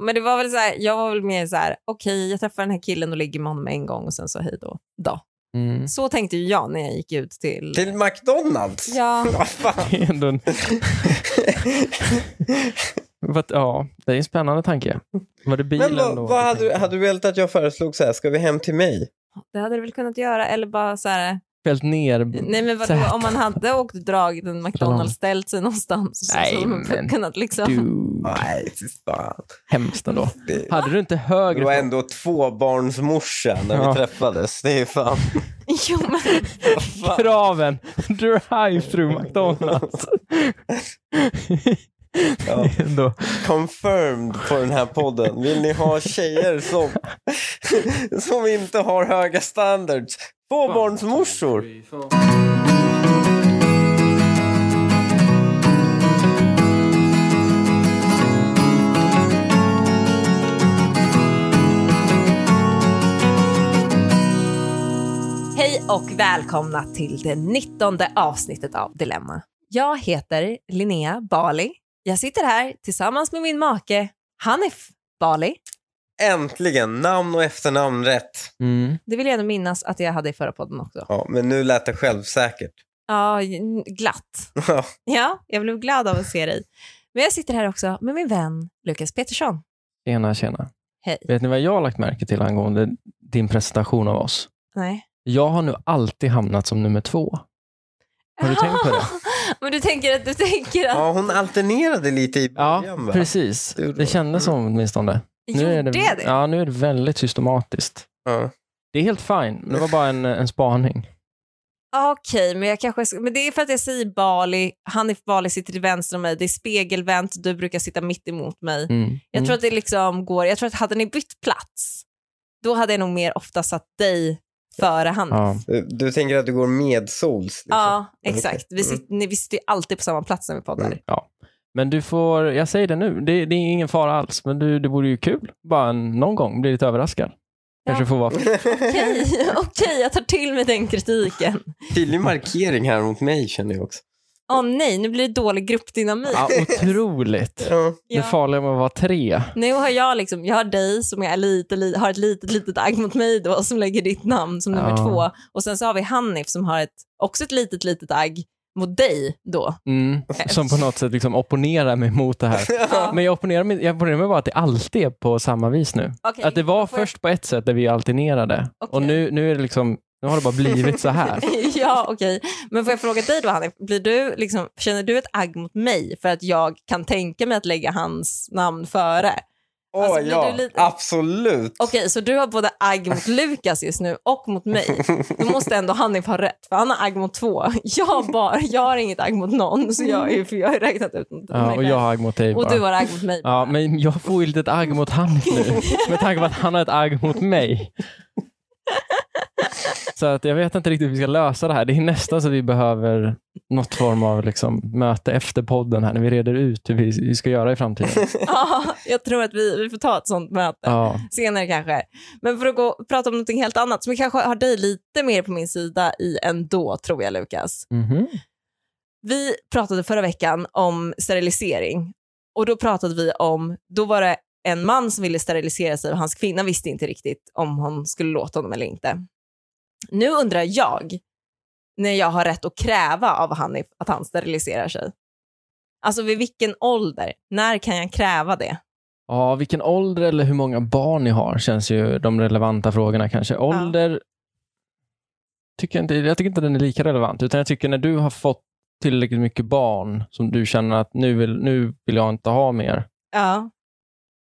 Men det var väl så här, jag var väl mer så här, okej, jag träffar den här killen och ligger med honom en gång och sen så hej då. då. Mm. Så tänkte ju jag när jag gick ut till... Till McDonalds? Ja, Vad fan? Det är ändå en... Vad- ja, det är en spännande tanke. Var det bilen Men vad, då? vad hade, du- hade du velat att jag föreslog så här, ska vi hem till mig? det hade du väl kunnat göra. Eller bara så här, Fällt ner? nej men vadå, om man hade åkt och dragit en McDonalds, ställt sig någonstans så Nej, hade man men- kunnat liksom... Du, Nej, fy fan. hemskt ändå. Det, Hade du inte det högre... var ändå tvåbarnsmorsa när vi Ja. träffades. Det är fan... Jo, men... fan. Kraven! Drive-through McDonalds. Ja. Det är ändå- confirmed på den här podden. Vill ni ha tjejer som, som inte har höga standards? Tvåbarnsmorsor. Hej och välkomna till det 19 avsnittet av Dilemma. Jag heter Linnea Bali. Jag sitter här tillsammans med min make Hanif Bali. Äntligen, namn och efternamn rätt. Mm. Det vill jag ändå minnas att jag hade i förra podden också. Ja, men nu lät det självsäkert. Ja, glatt. Ja. Ja, jag blev glad av att se dig. Men jag sitter här också med min vän Lukas Petersson. Tjena, tjena. Hej. Vet ni vad jag har lagt märke till angående din presentation av oss? Nej. Jag har nu alltid hamnat som nummer två. Har du tänkt på det? Men du tänker att du tänker att... ja, hon alternerade lite i Ja, början va? precis. Det gjorde Det kändes som åtminstone. Gjorde är det det? Ja, nu är det väldigt systematiskt. Ja. Det är helt fint, men det var bara en, en spaning. Okej, men, jag kanske, ska- men det är för att jag säger Bali. Hanif Bali sitter till vänster om mig. Det är spegelvänt. Du brukar sitta mitt emot mig. Mm. Jag tror att det liksom går, jag tror att hade ni bytt plats, då hade jag nog mer ofta satt dig före Hanif. Ja, Ja. Du, Eh, du tänker att du går med sols? Liksom. exakt. Vi Mm. sitter, ni, vi sitter ju alltid på samma plats när vi poddar. Mm. Men du får, jag säger det nu, det, det är ingen fara alls, men du, det vore ju kul. Bara en, någon gång, bli lite överraskad. Kanske får vara... Okej, okej, jag tar till mig den kritiken. Tydlig markering här mot mig känner jag också. Åh nej, nu blir det dålig gruppdynamik. Ja, otroligt. Ja. Alltså, Det farliga med att vara tre. Nu har jag liksom, jag har dig som jag är lite, li, har ett litet, litet agg mot mig då som lägger ditt namn som nummer Ja. två. Och sen så har vi Hanif som har ett, också ett litet, litet agg mot dig då. Mm. Som på något sätt liksom opponerar mig mot det här. Men jag opponerar, mig, jag opponerar mig bara att det alltid är på samma vis nu. Okej, Att det var då får jag- först på ett sätt där vi alternerade. Okej. Och nu, nu är det liksom, nu har det bara blivit så här. ja, okej. Men får jag fråga dig då, Hanif, blir du liksom, känner du ett agg mot mig för att jag kan tänka mig att lägga hans namn före? Åh Alltså, blir ja, du lite- absolut. Okej, så du har både agg mot Lukas just nu och mot mig. Då måste ändå Hanif ha rätt, för han har agg mot två. Jag, bara, jag har inget agg mot någon, så jag, är ju- för jag har ju räknat ut mot Ja, mig och själv. jag har agg mot dig Oh och bara. du har agg mot mig. Ja, men jag får ju lite ett agg mot han nu. Med tanke på att han har ett agg mot mig. Så att jag vet inte riktigt hur vi ska lösa det här. Det är nästan så vi behöver något form av liksom möte efter podden här när vi reder ut hur vi vi ska göra i framtiden. Ja, jag tror att vi, vi får ta ett sånt möte Ja, senare kanske. Men för att gå, prata om någonting helt annat, som jag kanske har dig lite mer på min sida i ändå, tror jag Lukas. Mhm. Vi pratade förra veckan om sterilisering och då pratade vi om, då var det en man som ville sterilisera sig och hans kvinna visste inte riktigt om hon skulle låta honom eller inte. Nu undrar jag när jag har rätt att kräva av Hanif att han steriliserar sig. Alltså vid vilken ålder? När kan jag kräva det? ja vilken ålder eller hur många barn ni har känns ju de relevanta frågorna kanske. Ålder tycker jag, inte, jag tycker inte den är lika relevant, utan jag tycker när du har fått tillräckligt mycket barn som du känner att nu vill, nu vill jag inte ha mer. Ja.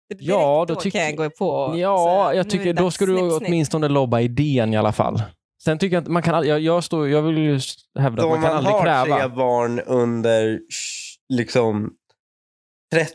Direkt Ja, då då tycker- kan jag gå på och Ja, säga, jag "Nu tycker är det då dags. ska du Snipp, snipp." åtminstone lobba idén i alla fall. Sen tycker jag att man kan all- jag, jag, står, jag vill ju s- hävda att Om man kan man aldrig har kräva. tre barn under sh- liksom 30.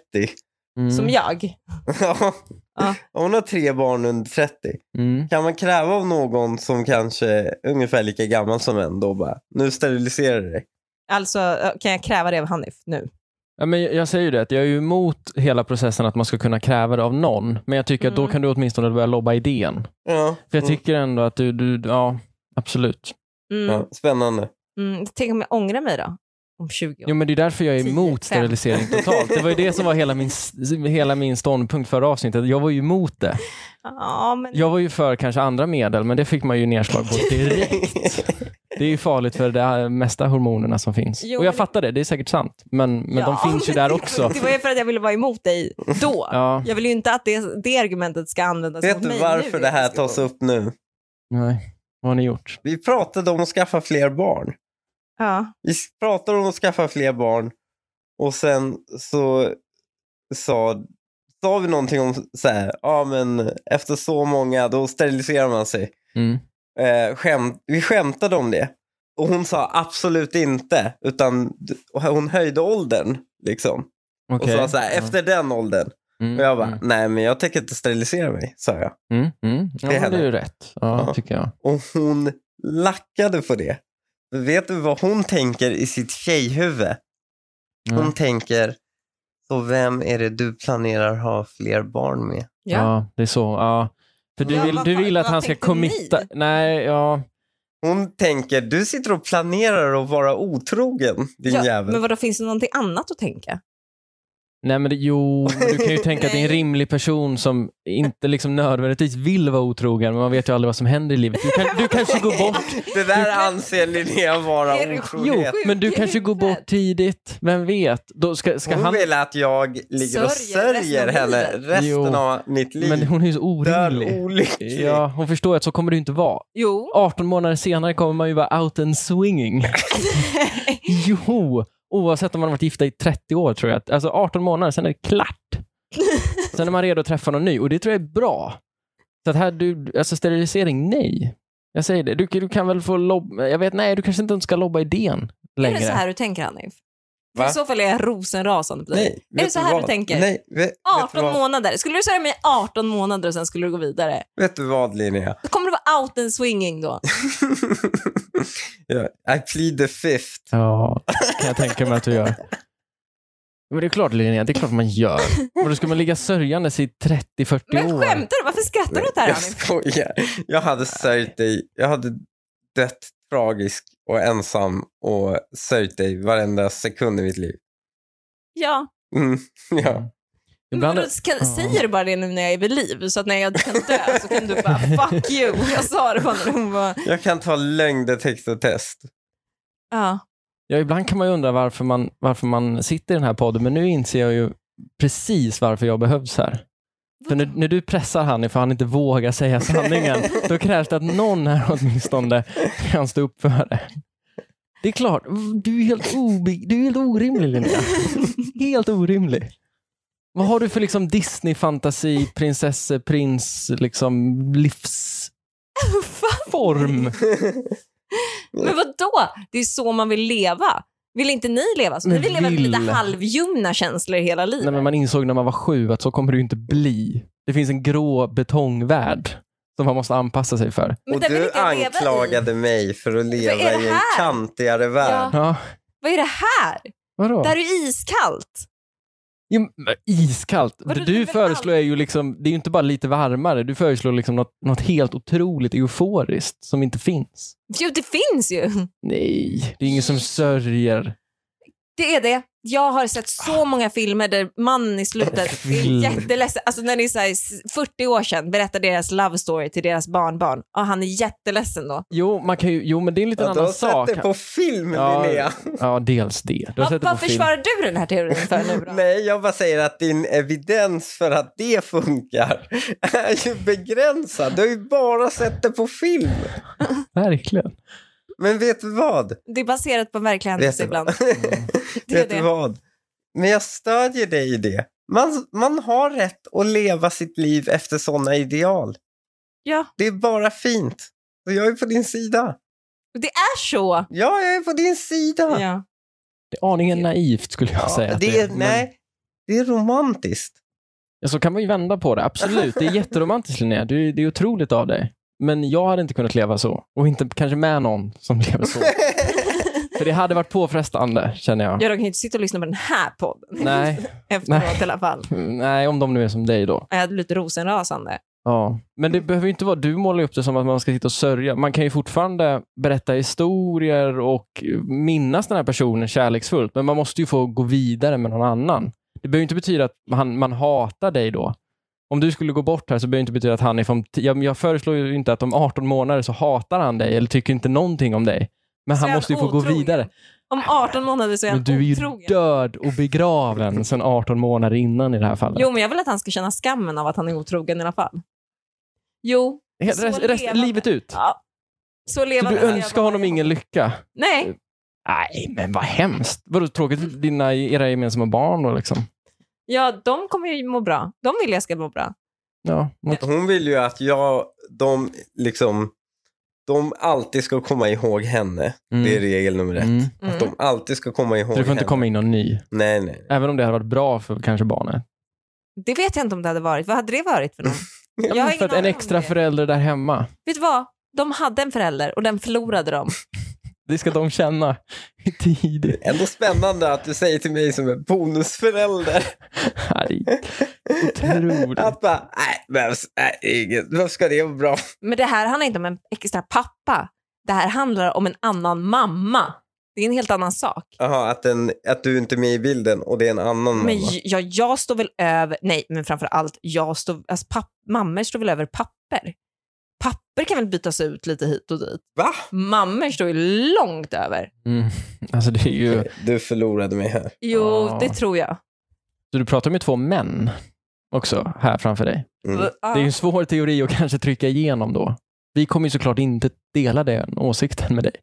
Mm. Som jag? Ja. Ja. Om man har tre barn under 30. Mm. Kan man kräva av någon som kanske är ungefär lika gammal som en då bara, nu steriliserar du dig. Alltså, kan jag kräva det av Hanif nu? Ja, men jag- jag säger ju det, att jag är ju emot hela processen att man ska kunna kräva det av någon. Men jag tycker att då Mm. kan du åtminstone börja lobba idén. Ja. För jag Mm. tycker ändå att du, du ja, absolut. Mm. ja. Spännande. Mm. Tänk om jag ångrar mig då? om 20 år. Jo, men det är därför jag är Tio, emot fem. sterilisering totalt. Det var ju det som var hela min, hela min ståndpunkt förra avsnittet. Jag var ju emot det. Ja, men Jag var ju för kanske andra medel, men det fick man ju nedslag på direkt. Alltså, Det är ju farligt för de mesta hormonerna som finns. Jo, och jag men- fattar det, det är säkert sant. Men, men Ja, de finns ju men där det- också. Det var ju för att jag ville vara emot dig då. Ja, Jag vill ju inte att det, det argumentet ska användas Vet mot du mig nu varför i det här diskussion. tas upp nu? nej. Vad har ni gjort? Vi pratade om att skaffa fler barn. Ja. Vi pratade om att skaffa fler barn och sen så sa, sa vi någonting om så här, ja men efter så många då steriliserar man sig. Mm. Eh, skämt, vi skämtade om det. Och hon sa absolut inte, utan och hon höjde åldern. Liksom. Okej. Och sa så här, efter den åldern. Mm, Och jag bara, mm, nej men jag tänker inte sterilisera mig, sa jag. mm, mm. Ja, Det men det är händer. ju rätt. Ja, Ja. tycker jag. Och hon lackade på det. Men Vet du vad hon tänker i sitt tjejhuvud? Hon Ja. tänker, så vem är det du planerar ha fler barn med? Ja. Ja. det är så. Ja. För du Ja, vill, vad du fan- vill att vad han ska tänkte ni? committa. Nej, ja. Hon tänker, du sitter och planerar att vara otrogen, din Ja, jävel. men vadå, finns det någonting annat att tänka? Nej, men det, jo, du kan ju tänka att det är en Nej. rimlig person som inte liksom nödvändigtvis vill vara otrogen, men man vet ju aldrig vad som händer i livet. Du, kan, du kanske går bort Det där anser Linnea vara Är du Jo, otrohet. Sjuk men du i kanske går huvudet. bort tidigt. Vem vet? Då ska, ska Hon han... vill att jag ligger och Sörjer resten sörjer av henne livet. resten Jo. av mitt liv. Men hon är ju så Dör orimlig. olycklig. Ja, hon förstår ju att så kommer det ju inte vara. Jo. 18 månader senare kommer man ju vara out and swinging. Jo, oavsett om man har varit gifta i 30 år tror jag. Alltså 18 månader, sen är det klart. Sen är man redo att träffa någon ny och det tror jag är bra. Så att här, du, alltså sterilisering, nej. Jag säger det. Du, du kan väl få lobba, jag vet, nej, du kanske inte ska lobba idén är det längre. så här du tänker, Hanif? Va? I så fall är jag rosenrasande på dig. Nej, är vet det så här vad? du tänker? Nej, vet, vet, du 18 vad? månader. Skulle du säga mig 18 månader och sen skulle du gå vidare? vet du vad Linnea? Då kommer du vara out and swinging då. Ja, I plead the fifth. Ja, kan jag tänka mig att du gör. Men det är klart Linnea, det är klart man gör. Och då ska man ligga sörjandes i 30-40 Men år. skämtar du? Varför skrattar du åt det här, Jag Hanif? skojar. Jag hade sörjt dig. Jag hade dött tragisk och ensam och sörjt dig varenda sekund i mitt liv. Ja. Mm, ja. Ibland, men vadå, kan, ja. Säger du bara det nu när jag är vid liv? Så att när jag kan dö så kan du bara fuck you. Jag sa det bara när hon var... Jag kan ta lögndetektortest. Ja. ja, ibland kan man ju undra varför man, varför man sitter i den här podden, men nu inser jag ju precis varför jag behövs här. För när, när du pressar Hanif för han inte vågar säga sanningen, då krävs det att någon här åtminstone kan stå upp för det. Det är klart, du är helt, obe, du är helt orimlig Linnea. Helt orimlig. Vad har du för liksom Disney-fantasi, prinsesse, prins, liksom livsform? Men vad då? Det är så man vill leva. Vill inte ni leva så? Ni Men vill leva med vill. lite halvljumna känslor hela livet. Nej, men man insåg när man var sju att så kommer det ju inte bli. Det finns en grå betongvärld som man måste anpassa sig för. Men och den vill du inte jag leva i. anklagade mig för att leva är det i en här? kantigare värld. Ja, Vad är det här? vadå? Det här är ju iskallt. Jo, men iskallt. Vadå, det det är du väl föreslår är ju liksom, det är ju inte bara lite varmare. Du föreslår liksom något, något helt otroligt euforiskt som inte finns. Jo, det finns ju. Nej, det är ingen som sörjer. Det är det. Jag har sett så många filmer där mannen i slutet är Film. jätteledsen. Alltså när det är så här, s- 40 år sedan berättar deras love story till deras barnbarn och han är jätteledsen då. Jo, man kan ju, jo men det är en lite Ja, du har annan sett sak. det på film, Ja, Linnea. Ja, dels det. Du har Vad sett det på vad film. försvarar du den här teorin för nu då? Nej, jag bara säger att din evidens för att det funkar är ju begränsad. Du har ju bara sett det på film. Verkligen. Men vet du vad? Det är baserat på en verklig Vet händelse du ibland. Mm. vad? Det är Vet du det. vad? Men jag stödjer dig i det. Man, man har rätt att leva sitt liv efter sådana ideal. Ja, Det är bara fint. Och jag är på din sida. det är så. Ja, jag är på din sida. Ja. Det är aningen naivt skulle jag säga. Ja, att det är, men- nej, det är romantiskt. Ja, så kan man ju vända på det. Absolut, det är jätteromantiskt Linnea. Du, det är otroligt av dig. Men jag hade inte kunnat leva så. Och inte kanske med någon som lever så. För det hade varit påfrestande, känner jag. ja, de kan ju inte sitta och lyssna på den här podden Nej, efteråt Nej. i alla fall. nej, om de nu är som dig då. Jag är lite rosenrasande. Ja. Men det behöver ju inte vara, du målar ju upp det som att man ska sitta och sörja. Man kan ju fortfarande berätta historier och minnas den här personen kärleksfullt, men man måste ju få gå vidare med någon annan. Det behöver ju inte betyda att man, man hatar dig då. Om du skulle gå bort här så behöver det inte betyda att han är från... Jag, jag föreslår ju inte att om 18 månader så hatar han dig eller tycker inte någonting om dig. Men Så är han han måste ju få gå otrogen. vidare. Om 18 månader så är Men han du är ju otrogen. död och begraven sedan 18 månader innan i det här fallet. Jo, men jag vill att han ska känna skammen av att han är otrogen i alla fall. Jo, Helt- så rest, rest, levande. livet ut. ja. Så Så levande du ska jag önskar vara. honom ingen lycka? Nej, Nej, men vad hemskt. Vadå tråkigt för dina, era gemensamma barn då liksom? ja, de kommer ju må bra. De vill jag ska må bra. Ja, något- Hon vill ju att jag, de liksom, de alltid ska komma ihåg henne. Det är regel nummer ett. Mm. Mm. Att de alltid ska komma ihåg Så det får henne. inte komma in någon ny. Nej, nej. Även om det hade varit bra för kanske barnet. Det vet jag inte om det hade varit. Vad hade det varit för någon? Ja, Jag har men ingen för att en aning om extra det. förälder där hemma, Vet du vad? De hade en förälder och den förlorade de. det ska de känna i tid. Ändå spännande att du säger till mig som en bonusförälder Nej, Otroligt. att bara, nej, behövs, nej, inget. Varför ska det vara bra? Men det här handlar inte om en extra pappa. Det här handlar om en annan mamma. Det är en helt annan sak. Jaha, att, den- att du inte är med i bilden och det är en annan Men mamma. j- ja, jag står väl över, nej men framför allt, jag står, alltså papp, mammor står väl över papper. Papper kan väl bytas ut lite hit och dit. Va? Mammor står ju långt över. Mm. Alltså det är ju... Du förlorade mig här. Jo, Ja. det tror jag. Så du pratar med två män också här framför dig. Mm. Ja. Det är ju en svår teori att kanske trycka igenom då. Vi kommer ju såklart inte dela den åsikten med dig,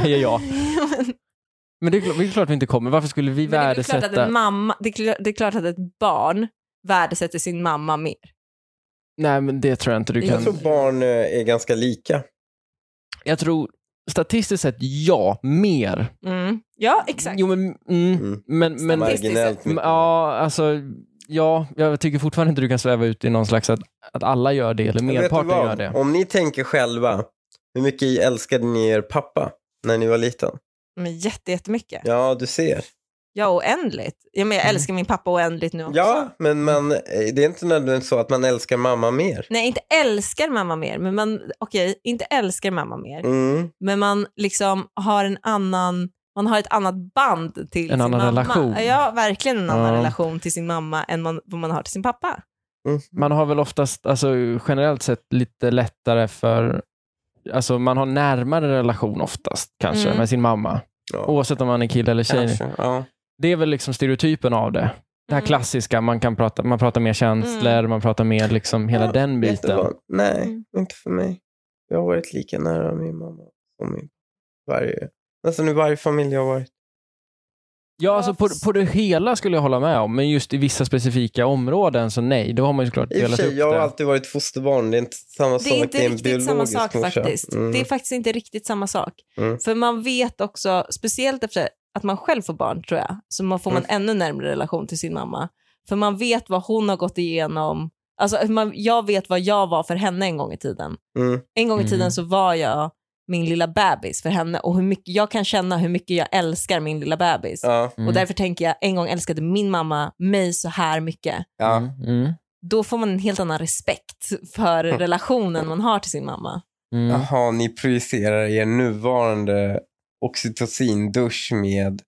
säger jag. Men- Men det är, klart, det är klart vi inte kommer. Varför skulle vi men det är väl klart att värdesätta... en mamma, det är, kl- det är klart att ett barn värdesätter sin mamma mer. Nej, men det tror jag inte du Jag kan. Jag tror barn eh, är ganska lika. Jag tror statistiskt sett, ja, mer. Mm. Ja, exakt. Jo, men... Mm, Mm. men, men Statistiskt Marginellt sett. mycket. ja, alltså... Ja, jag tycker fortfarande inte du kan sväva ut i någon slags att, att alla gör det, eller Men vet du merparten vad? gör det. Om ni tänker själva, hur mycket älskade ni er pappa när ni var liten? Men jätte, jättemycket. Ja, du ser. Ja, oändligt. Ja, men jag Mm. älskar min pappa oändligt nu också. Ja, men man, eh, det är inte nödvändigtvis så att man älskar mamma mer. Nej, inte älskar mamma mer, men man, okej, inte älskar mamma mer. Mm. men man liksom har en annan man har ett annat band till En sin annan mamma. relation. Ja, verkligen en annan Ja. relation till sin mamma än man, vad man har till sin pappa. Mm. Man har väl oftast, alltså, generellt sett, lite lättare för... Alltså man har närmare relation oftast kanske Mm. med sin mamma. Ja, Oavsett om man är kille eller tjej. kanske. Ja. Det är väl liksom stereotypen av det. Det här Mm. klassiska, man, kan prata, man pratar mer känslor, man pratar mer liksom hela Ja, den biten. Jättebra. Nej, Mm. inte för mig. Jag har varit lika nära min mamma som min varje, nästan i varje familj jag har varit. Ja, alltså på, fast- på det hela skulle jag hålla med om, men just i vissa specifika områden så nej, då har man ju såklart I och för delat upp sig, jag har det. alltid varit fosterbarn. Det är inte samma Det är sak. inte en riktigt samma biologisk sak morsa. faktiskt. Mm. Det är faktiskt inte riktigt samma sak. Mm. För man vet också, speciellt efter att man själv får barn tror jag, så man får man Mm. ännu närmare relation till sin mamma. För man vet vad hon har gått igenom. Alltså, man, jag vet vad jag var för henne en gång i tiden. Mm. En gång i Mm. tiden så var jag min lilla bebis för henne och hur mycket, jag kan känna hur mycket jag älskar min lilla bebis. Ja, Mm. Och därför tänker jag, en gång älskade min mamma mig så här mycket. ja. Mm, mm, Då får man en helt annan respekt för relationen man har till sin mamma. mm. Jaha, ni projicerar er nuvarande oxytocindusch med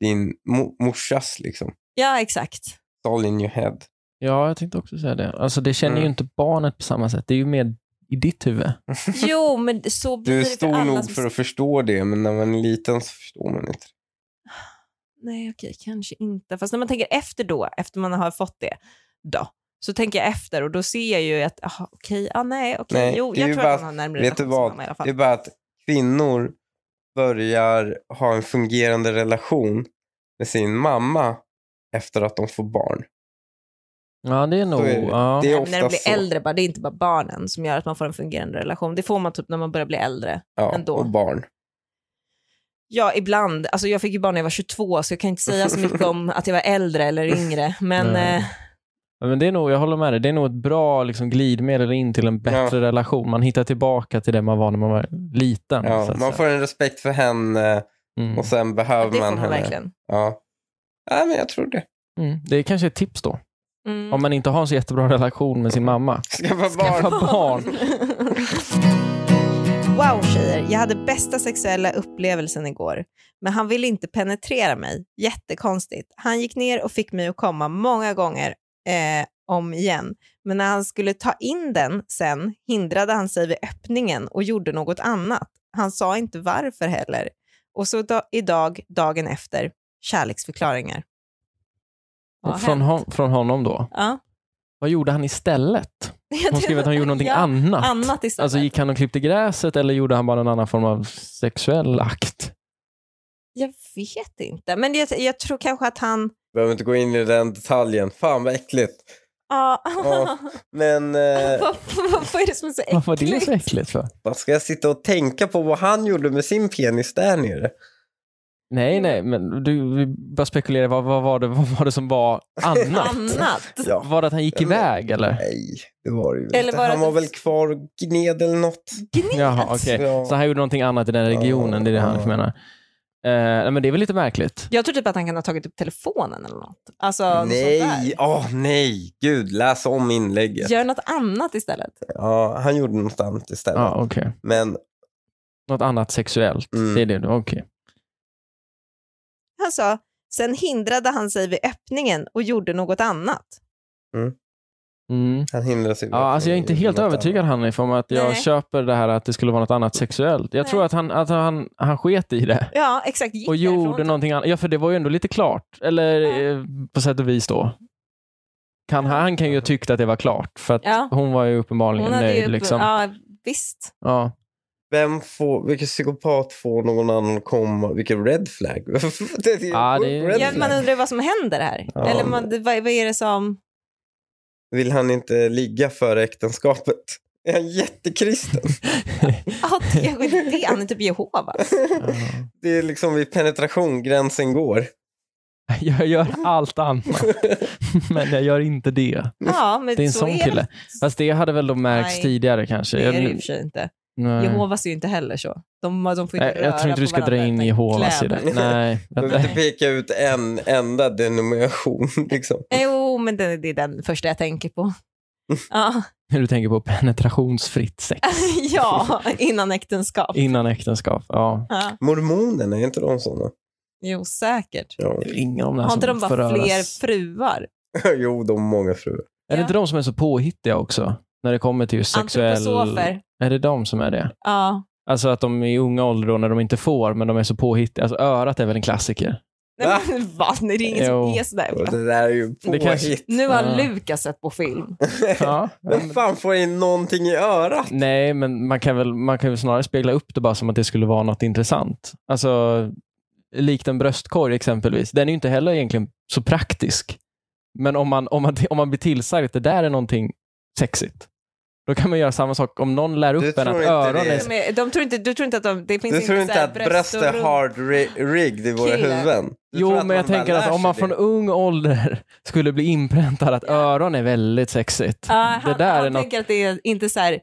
din mo- morsas liksom. Ja, exakt. It's all in your head. Ja, jag tänkte också säga det. Alltså det känner ju Mm. inte barnet på samma sätt. Det är ju mer i ditt huvud. Jo, men så blir Du är det för stor alla nog som... för att förstå det, men när man är liten så förstår man inte. Nej, okej, kanske inte. Fast när man tänker efter då, efter man har fått det, då, så tänker jag efter och då ser jag ju att, aha, okej, ah, nej, okej, Nej, jo, det är jag ju tror bara- att man har närmare vet du relation till vad? mamma i alla Det är fall. bara att kvinnor börjar ha en fungerande relation med sin mamma efter att de får barn. Ja, det är nog... är det. ja. Det är Nej, men ofta när de blir så. äldre, bara, det är inte bara barnen som gör att man får en fungerande relation. Det får man typ när man börjar bli äldre. Ja, ändå. och barn. Ja, ibland. Alltså, jag fick ju barn när jag var 22, så jag kan inte säga så mycket om att jag var äldre eller yngre. Men Nej. eh, Ja, Men det är nog, jag håller med dig, det är nog ett bra liksom, glidmedel in till en bättre relation. Man hittar tillbaka till det man var när man var liten. så Ja, att man säga. får en respekt för henne Mm. och sen det behöver får man man henne. verkligen. Ja. Nej, men jag tror det. Mm. Det är kanske ett tips då. Mm. Om man inte har en så jättebra relation med sin mamma. Skaffa Skaffa barn. barn. Wow tjejer, jag hade bästa sexuella upplevelsen igår. Men han ville inte penetrera mig. Jättekonstigt. Han gick ner och fick mig att komma många gånger eh, om igen. Men när han skulle ta in den sen hindrade han sig vid öppningen och gjorde något annat. Han sa inte varför heller. Och så da- idag, dagen efter, kärleksförklaringar. Vad har Och Från, hänt? hon, från honom då. Ja. Vad gjorde han istället? Hon skrev att han gjorde någonting Ja, annat. annat istället. Alltså gick han och klippte gräset eller gjorde han bara någon annan form av sexuell akt? Jag vet inte, men jag, jag tror kanske att han... Behöver inte gå in i den detaljen. Fan vad äckligt. Ja. Ja. Men eh, vad, vad, vad är det som är så äckligt? Varför var det så äckligt för? vad ska jag sitta och tänka på vad han gjorde med sin penis där nere? Nej, nej, men du vi bara spekulerar. Vad, vad, var det, vad var det som var annat? Annat. Ja. Var det att han gick Ja, men- iväg eller? Nej, det var det ju Eller inte. var det Han var att- väl kvar och gned eller något. Gnet. Jaha, okej. Ja. Så han gjorde någonting annat i den regionen, det är det han liksom Ja. menar. Eh, nej, men det är väl lite märkligt. Jag tror typ att han kan ha tagit upp telefonen eller något. Alltså, något sånt nej, där. åh nej. Gud, läs om inlägget. Ja. Gör något annat istället. han gjorde något annat istället. Ja, okej. Men Något annat sexuellt. Mm. Det är det du, okej. Han sa, sen hindrade han sig vid öppningen och gjorde något annat. Mm. han hindrades ju. Ja, alltså jag är inte helt övertygad Hanif om att jag Nej. köper det här att det skulle vara något annat sexuellt. Jag Nej. tror att han, att han, han sket i det. Ja, exakt. Gick Och därifrån. gjorde någonting annat. Ja, för det var ju ändå lite klart. Eller Ja. eh, på sätt och vis då. Kan, han kan ju ha tyckt att det var klart, för att Ja. hon var ju uppenbarligen Hon hade nöjd. ju... liksom. ja. Ja, visst. Vem får, vilken psykopat får någon annan komma? Vilken red flag? det är ju Ja, det är- red Ja, flag. man undrar vad som händer här. Ja. Eller man, vad, vad är det som... Vill han inte ligga före äktenskapet? Är han jättekristen? Ja, det kanske inte är det. Han är typ Jehovas. Ja. det är liksom vid penetration gränsen går. Jag gör allt annat, men jag gör inte det. Ja, men Det är en så sån är kille. Fast det hade väl då märkts Nej. tidigare kanske. Det är Jag- det ju i och för sig inte. nej. Jehovas är ju inte heller så. De, de får inte Nej, röra jag tror på inte du ska dra varandra in utan Jehovas i kläder. det. Nej. Du behöver inte peka ut en enda denomination. Liksom. Jo, men det, det är den första jag tänker på. Ja, Hur du tänker på penetrationsfritt sex ja innan äktenskap. innan äktenskap. Ja. Ja. Mormonerna, är inte de sådana? Jo, säkert. Ja. Det är Ingen om det här Har inte som de bara Alltså, föröras. fler fruar? jo, de har många fruar. Är det inte de som är så påhittiga också? När det kommer till just sexuell... Antroposofer. Är det de som är det? Ja. Alltså att de i unga ålder då, när de inte får, men de är så påhittiga. Alltså örat är väl en klassiker? Nej, men vad? Nej, det är ingen som Jo. är sådär. Det där är ju Det kanske- påhitt. Nu har Ja. Lukas sett på film. Ja. Vem fan får in någonting i örat? Nej, men man kan, väl, man kan väl snarare spegla upp det bara som att det skulle vara något intressant. Alltså, likt en bröstkorg exempelvis. Den är ju inte heller egentligen så praktisk. Men om man, om man, om man blir tillsagd att det där är någonting sexigt, då kan man göra samma sak. Om någon lär Du upp en tror att inte öron det. är... De är- De tror inte, du tror inte att de... Det finns Du tror så inte här att bröst och är rump- hard ri- rigged i våra Killar. huvuden? Du tror Jo, att men jag man bara tänker att lär om man sig från det. ung ålder skulle bli inpräntad att Ja. öron är väldigt sexigt. Ja, han, det där han är något... tänker att det är inte så här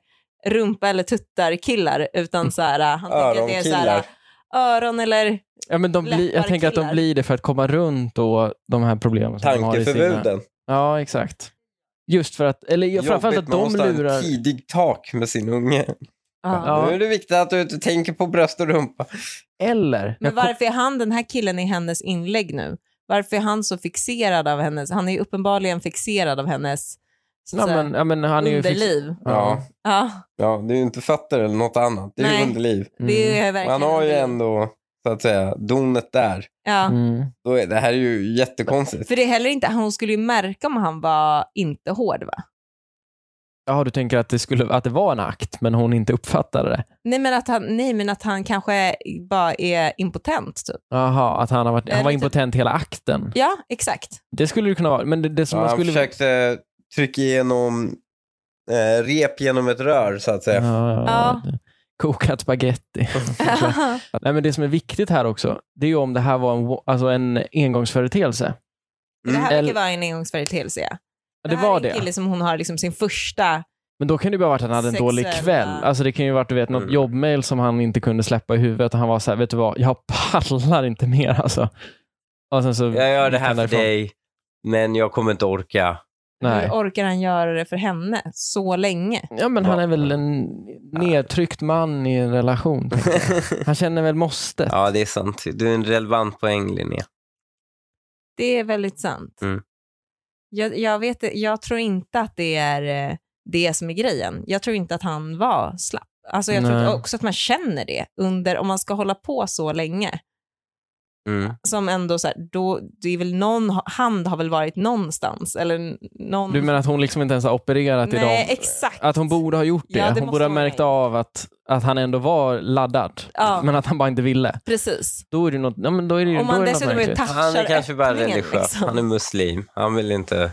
rumpa eller tuttar killar utan så här, han tänker att det är så här, Öronkillar. öron eller Ja, men de blir, jag tänker att de läpparkillar. blir det för att komma runt då, de här problemen som de har i sina... Tankeförbuden. Ja, exakt. Just för att, eller Jobbigt, framförallt att man de måste ha en lurar... tidig tak med sin unge. Ja. Ja. Nu är det viktigt att du inte tänker på bröst och rumpa. Eller, Men jag kom- varför är han den här killen i hennes inlägg nu? Varför är han så fixerad av hennes? Han är ju uppenbarligen fixerad av hennes så att ja, säga, men, ja, men han är ju... fix- underliv. Ja. Ja, Ja, ja det är ju inte fötter eller något annat. Det är Nej. ju underliv. Mm. det är verkligen Man har ju underliv. ändå, så att säga, donet där. Ja. Mm. Då är, det här är ju jättekonstigt. För det är heller inte, hon skulle ju märka om han var inte hård va? Jaha, du tänker att det, skulle, att det var en akt, men hon inte uppfattade det? Nej men att han, nej, men att han kanske bara är impotent typ. Jaha, att han, har varit, han Eller var typ- impotent hela akten? Ja, exakt. Det skulle det kunna vara, men det, det som ja, man han skulle... försökte trycka igenom eh, rep genom ett rör, så att säga. Ja, Ja. det- Kokat spaghetti. Nej, men det som är viktigt här också, det är ju om det här var en, alltså en engångsföreteelse. Det här Mm. verkar vara en engångsföreteelse. Ja. Ja, Det Det här var är en det. kille som hon har liksom sin första... Men då kan det ju bara varit att han hade en dålig Sexuella. kväll. Alltså det kan ju varit du vet, något Mm. jobbmail som han inte kunde släppa i huvudet och han var så här, vet du vad, jag pallar inte mer alltså. Och sen så Jag gör det här för därifrån. dig, men jag kommer inte orka. Nej. Hur orkar han göra det för henne så länge? Ja, men han är väl en nedtryckt man i en relation. tänker jag. Han känner väl måste. Ja, det är sant. Du är en relevant poäng, Linnea. Det är väldigt sant. Mm. Jag, jag, vet, det- jag tror inte att det är eh, det som är grejen. Jag tror inte att han var slapp. Alltså jag Nej. tror också att man känner det under, om man ska hålla på så länge. Mm. Som ändå så här, då, det är väl någon hand har väl varit någonstans. Eller n- någon... Du menar att hon liksom inte ens har opererat i Nej, dem? exakt. Att hon borde ha gjort det. Ja, det hon måste borde ha hon märkt ha av att, att han ändå var laddad, Ja. men att han bara inte ville. Precis. Då är det något, ja, men då är det, ju- Om då man är det något dessutom är märkligt. touchar Han är kanske bara öppningen, religiös. Ah, liksom. Han är muslim. Han vill inte...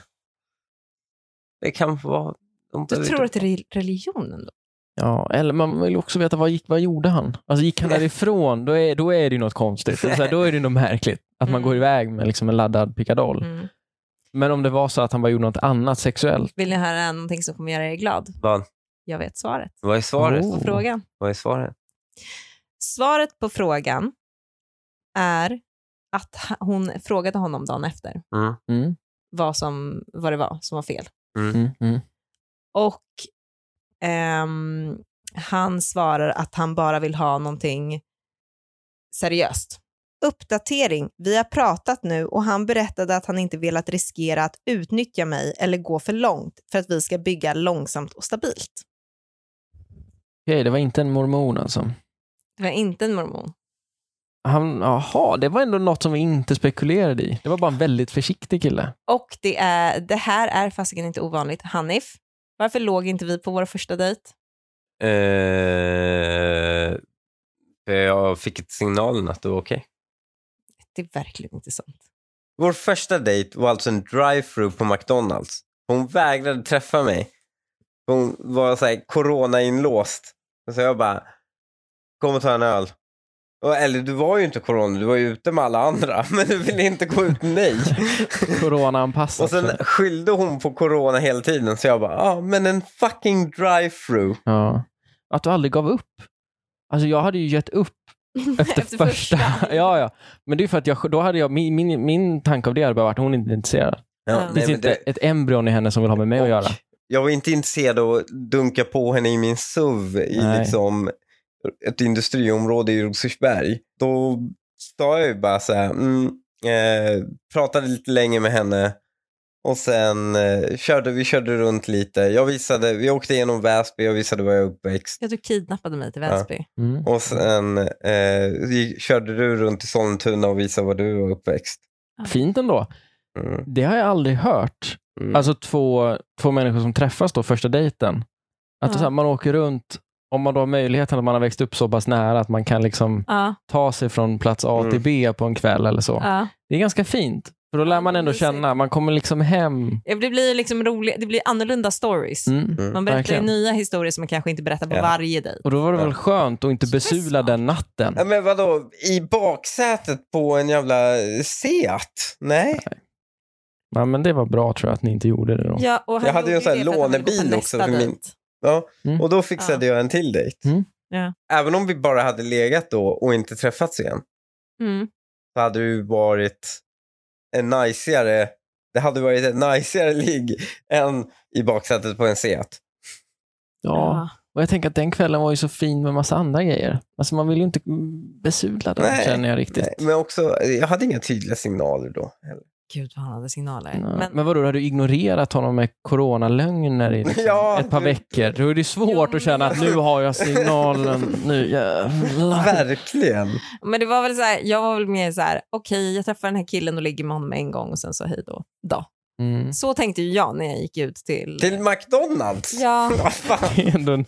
Det kan vara... De Du behöver tror att inte- det är religionen då? Ja, eller man vill också veta vad, gick, vad gjorde han? Alltså gick han därifrån, då är, då är det ju något konstigt. Eller Så här, då är det ju något märkligt. Att Mm. man går iväg med liksom en laddad pickadoll. Mm. Men om det var så att han bara gjorde något annat sexuellt. Vill ni höra någonting som kommer göra er glad? Vad? Jag vet svaret Vad är svaret? Oh. på frågan. Vad är svaret? Svaret på frågan är att ha- hon frågade honom dagen efter Mm. Mm. vad, som, vad det var som var fel. Mm. Mm. Och ehm, han svarar att han bara vill ha någonting seriöst. Uppdatering. Vi har pratat nu och han berättade att han inte velat riskera att utnyttja mig eller gå för långt för att vi ska bygga långsamt och stabilt. Okej, det var inte en mormon alltså. Det var inte en mormon. Han, aha, det var ändå något som vi inte spekulerade i. Det var bara en väldigt försiktig kille. Och det, är, det här är fasiken inte ovanligt. Hanif, varför låg inte vi på vår första dejt? Eh, för jag fick ett signalen att det var okej. Det är verkligen inte sant. Vår första dejt var alltså en drive-thru på McDonalds. Hon vägrade träffa mig. Hon var så här corona-inlåst. Så jag bara, kom och ta en öl. Och, eller du var ju inte corona, du var ju ute med alla andra. Men du ville inte gå ut med mig. Corona-anpassad. och sen skyllde hon på corona hela tiden. Så jag bara, ja ah, men en fucking drive-thru. Ja. Att du aldrig gav upp. Alltså jag hade ju gett upp efter, Efter första. första. ja, ja. Men det är för att jag, då hade jag, min, min, min tanke av det hade bara varit hon är inte intresserad. Ja. Det nej, finns men inte det- ett embryon i henne som vill ha med mig att göra. Jag var inte intresserad av att dunka på henne i min SUV i Nej. liksom ett industriområde i Rosersberg. Då sa jag ju bara så här, mm, eh, pratade lite länge med henne och sen eh, körde vi körde runt lite. Jag visade, vi åkte genom Väsby, jag visade var jag är uppväxt. Ja, du kidnappade mig till Väsby. Mm. Och sen eh, gick- körde du runt i Sollentuna och visade var du var uppväxt. Fint ändå. Mm, Det har jag aldrig hört. mm. Alltså två, två människor som träffas då första dejten. Att det är Ja. så här, man åker runt, om man då har möjligheten att man har växt upp så pass nära att man kan liksom Ja, ta sig från plats A Mm. till B på en kväll eller så. ja. Det är ganska fint. För då lär man ändå Mysigt. känna, man kommer liksom hem. Ja, Det blir liksom rolig, det blir annorlunda stories. Mm. Man berättar ju verkligen. nya historier som man kanske inte berättar på Ja. varje dejt. Och då var det väl skönt att inte Stressad. besula den natten. Ja, men vadå, i baksätet på en jävla Seat? Nej. Ja, men det var bra tror jag att ni inte gjorde det då. Ja, och han Jag hade ju gjorde en sån här det för att han ville gå på lånebil nästa också för min- dejt. Ja, Mm. och då fixade jag en till dejt. Mm. Ja. Även om vi bara hade legat då och inte träffats igen Mm. så hade det ju varit en najsigare, det hade varit en najsigare ligg än i baksätet på en Seat. Ja. Och jag tänker att den kvällen var ju så fin med massa andra grejer. Alltså man vill ju inte besudla den Nej. känner jag riktigt. Nej, men också, jag hade inga tydliga signaler då. heller. Gud vad han hade signaler. Ja. Men, Men, vadå, har du ignorerat honom med coronalögner i liksom Ja, ett par du- veckor? Då är det Jo, svårt men- att känna att nu har jag signalen. Nu jävlar. Verkligen. men det var väl så här, jag var väl mer så här, okej jag träffar den här killen och ligger med honom en gång och sen så hej då. då. Mm. Så tänkte ju jag när jag gick ut till... Till McDonalds? Ja, Vad fan? Det är ändå en,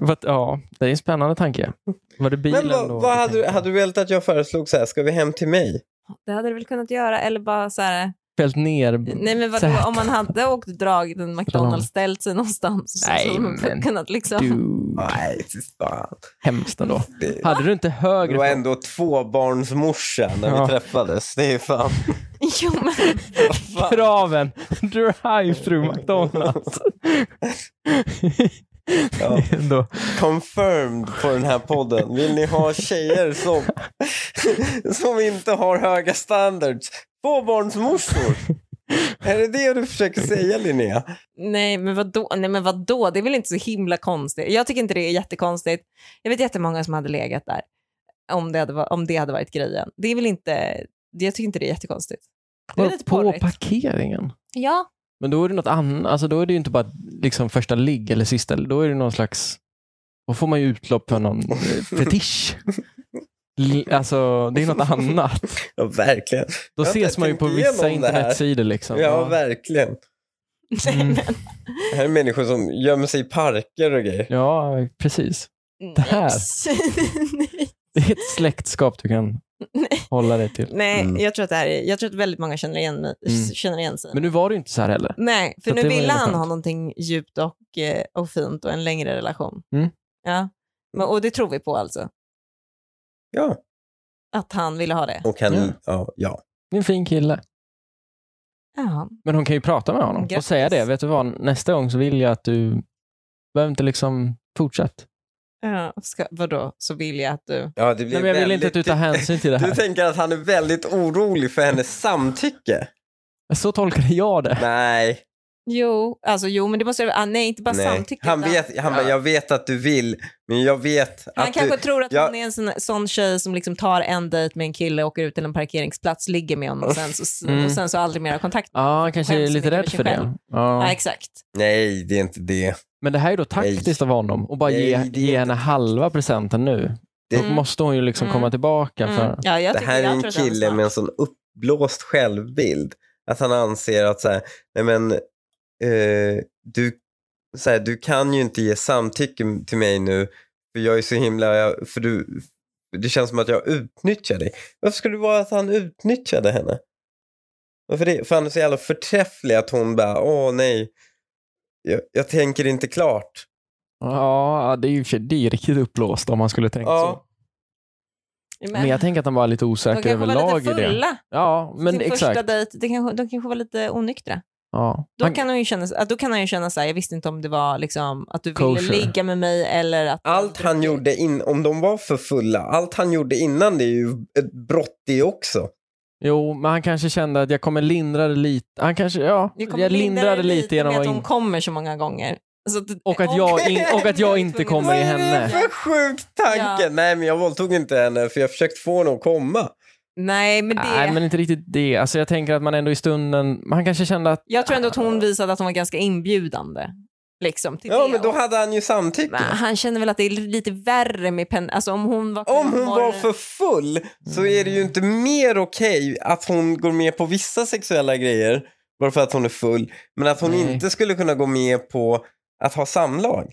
vad- ja, det är en spännande tanke. Var det bilen Men vad, då? vad hade, du- hade du velat att jag föreslog så här, ska vi hem till mig? det hade du väl kunnat göra. Eller bara så här, Fällt ner? nej men vadå, Sätet. om man hade åkt och dragit en McDonalds, ställt sig någonstans så Nej, hade man men kunnat liksom... Du, Nej, fy fan. hemskt ändå. Det- Hade du inte Du var högre... ändå tvåbarnsmorsa när Ja. vi träffades. Det är fan... Jo, men, fan. Kraven, drive-through McDonalds. Ja. Det är ändå- Confirmed på den här podden. Vill ni ha tjejer som, som inte har höga standards? Tvåbarnsmorsor. Är det det du försöker säga Linnea? Nej men, vadå? Nej men vadå, det är väl inte så himla konstigt. Jag tycker inte det är jättekonstigt. Jag vet jättemånga som hade legat där om det hade, va- om det hade varit grejen. Det är väl inte, jag tycker inte det är jättekonstigt. Det är Vadå, lite på porrigt. parkeringen? Ja, Men då är det något annat. Alltså då är det ju inte bara liksom första ligg eller sista. Då är det någon slags... Då får man ju utlopp för någon eh, fetisch. L- Alltså, det är något annat. Ja, verkligen. Då Jag har inte ses man ju på tänkt vissa igenom det här. internetsidor. Liksom. Ja, verkligen. Nej, Mm. men, Det här är människor som gömmer sig i parker och grejer. ja, precis. Det här. nej. Det är ett släktskap du kan Nej. hålla dig till. nej Mm. jag, tror att det här är, jag tror att väldigt många känner igen, mig, Mm. känner igen sig. Men nu var det ju inte så här heller. Nej, för Så nu det var ju ville han skönt. ha någonting djupt och, eh, och fint och en längre relation. Mm. Ja. Men, och det tror vi på alltså, Ja, att han ville ha det. och kan... Ja. Ja. Ja, Det är en fin kille. Ja. Men hon kan ju prata med honom och Grattis. säga det. Vet du vad, nästa gång så vill jag att du behöver inte liksom fortsätt. Ja, ska, vadå, så vill jag att du... ja det blir Nej, men jag vill väldigt... inte att du tar hänsyn till det Du här. tänker att han är väldigt orolig för hennes samtycke? Så tolkade jag det. Nej. Jo, alltså jo, men det måste jag... Ah, nej, inte bara nej. samtycke. Han, utan- vet, han bara, jag vet att du vill, men jag vet Han att kanske du... tror att Ja. hon är en sån, sån tjej som liksom tar en dejt med en kille, åker ut till en parkeringsplats, ligger med honom och sen så, Mm. och sen så aldrig mer har kontakt. Ja, han kanske är Skäms lite mycket rädd för sig för själv. det. Ja, Ja. exakt. Nej, det är inte det. Men det här är då taktiskt av honom och bara ge, Nej, det är ge inte henne halva presenten nu. Då Mm. måste hon ju liksom Mm. komma tillbaka. Mm. För... Ja, jag det tycker, här är jag en tror att han är kille smart. med en sån uppblåst självbild. Att han anser att så här, nej men, eh, du, så här, du kan ju inte ge samtycke till mig nu för jag är så himla, jag, för du, det känns som att jag utnyttjar dig. Varför skulle det vara att han utnyttjade henne? Varför det? För han är så jävla förträfflig att hon bara, åh nej, jag, jag tänker inte klart. Ja, det är ju i och för sig- det är ju riktigt uppblåst om man skulle tänka Ja, så. Men jag tänker att han var lite de osäker kanske var överlag i lite det. fulla Ja, men sin första exakt. dejt. De kanske, de kanske var lite onyktra. Ja. Då Han- kan, han ju känna, så- då kan han ju känna så här, jag visste inte om det var liksom, att du ville Kosher. ligga med mig eller att... allt han gjorde, in, om de var för fulla, allt han gjorde innan det är ju ett brott det också. Jo, men han kanske kände att jag kommer lindra det lite. Han kanske, ja, Jag, jag, kommer lindra det lindrade lite, genom med att att... hon In... kommer så många gånger. Så Och att jag in- och att jag inte kommer i Vad är henne. det för sjuk tanke? Ja. Nej, men jag våldtog inte henne för jag försökte få henne att komma. Nej, men det... Nej, men inte riktigt det. Alltså, jag tänker att man ändå i stunden... Han kanske kände att... Jag tror ändå att hon visade att hon var ganska inbjudande. Liksom, till Ja, det. men då hade han ju samtycke. Men han känner väl att det är lite värre med pen... Alltså om hon var... Om hon var för full så är det ju inte mer okej att hon går med på vissa sexuella grejer bara för att hon är full, men att hon Nej. inte skulle kunna gå med på att ha samlag.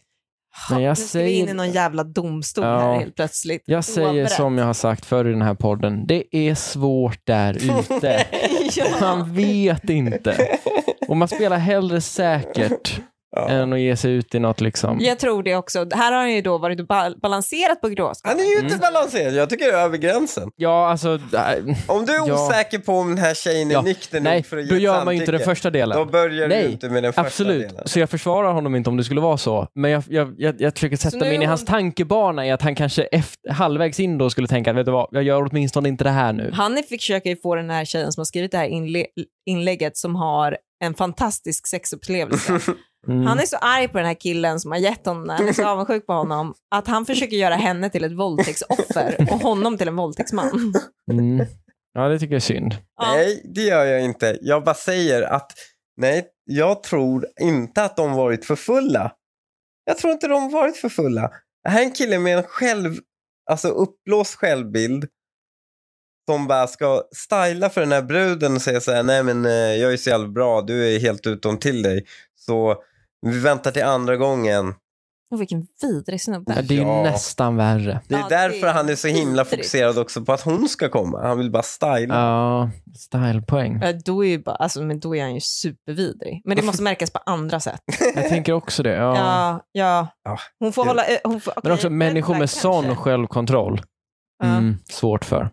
Men jag nu ska vi in säger- i någon jävla domstol här Ja. helt plötsligt. Jag säger Oavbrett. som jag har sagt förr i den här podden. Det är svårt där ute. ja. Man vet inte. Och man spelar hellre säkert Ja. än att ge sig ut i något liksom. Jag tror det också. Här har han ju då varit och bal- balanserat på gråskalan. Han är ju Mm. inte balanserad. Jag tycker det är över gränsen. Ja, alltså... nej. Om du är Ja. osäker på om den här tjejen är Ja. nykter nog Nej, för att ge då ett gör man ju inte den samtycke, första delen. Då börjar du Nej, ju inte med den första Absolut, delen. så jag försvarar honom inte om det skulle vara så. Men jag, jag, jag, jag försöker Så sätta nu mig in i är hans hon- tankebana i att han kanske efter, halvvägs in då skulle tänka, vet du vad, jag gör åtminstone inte det här nu. Han försöker ju få den här tjejen som har skrivit det här inle- inlägget som har en fantastisk sexupplevelse. Mm. Han är så arg på den här killen som har gett honom, han är så avundsjuk på honom, att han försöker göra henne till ett våldtäktsoffer och honom till en våldtäktsman. Mm. Ja, det tycker jag är synd. Ja, Nej, det gör jag inte. Jag bara säger att nej, jag tror inte att de varit för fulla. Jag tror inte de varit för fulla. Det här är en kille med en själv, alltså uppblåst självbild som bara ska styla för den här bruden och säga så här, nej men eh, jag är så jävla bra, du är helt utom till dig. Så vi väntar till andra gången. och vilken vidrig snubbe. Ja, det är ju Ja. nästan värre. Det är Ja, det därför är han är så himla vidrigt. fokuserad också på att hon ska komma. Han vill bara styla. Ja, stylepoäng. Ja, Då är, ju bara, alltså, men då är han ju supervidrig. Men det måste märkas på andra sätt. Jag tänker också det. Ja. Ja, ja. Ja. Hon får Ja. hålla... Hon får, Men okej, också människor med kanske. sån självkontroll. Ja. Mm, svårt för.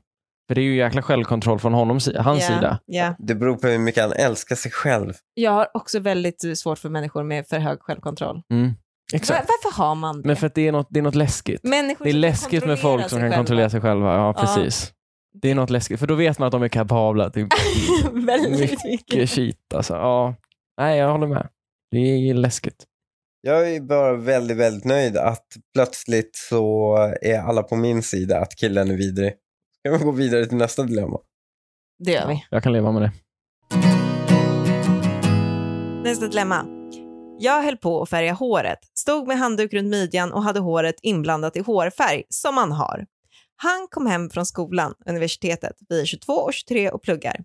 För det är ju jäkla självkontroll från honom, si- hans Ja, sida. Ja. Det beror på hur mycket han älskar sig själv. Eh, Jag har också väldigt eh, svårt för människor med för hög självkontroll. Mm. Var, Exakt. varför har man det? Men för att det är något, det är något läskigt. Människor Det är som kan läskigt med kontrollera folk som sig kan själva. kontrollera sig själva. Ja, Ja. precis. Det är något läskigt, för då vet man att de är kapabla till Väldigt mycket. mycket shit. Alltså. Ja. Nej, jag håller med. Det är läskigt. Jag är bara väldigt, väldigt nöjd att plötsligt så är alla på min sida att killen är vidrig. Ska vi gå vidare till nästa dilemma? Det gör vi. Jag kan leva med det. Nästa dilemma. Jag höll på att färga håret, stod med handduk runt midjan och hade håret inblandat i hårfärg, som man har. Han kom hem från skolan, universitetet, vi är 22 och 23 och pluggar.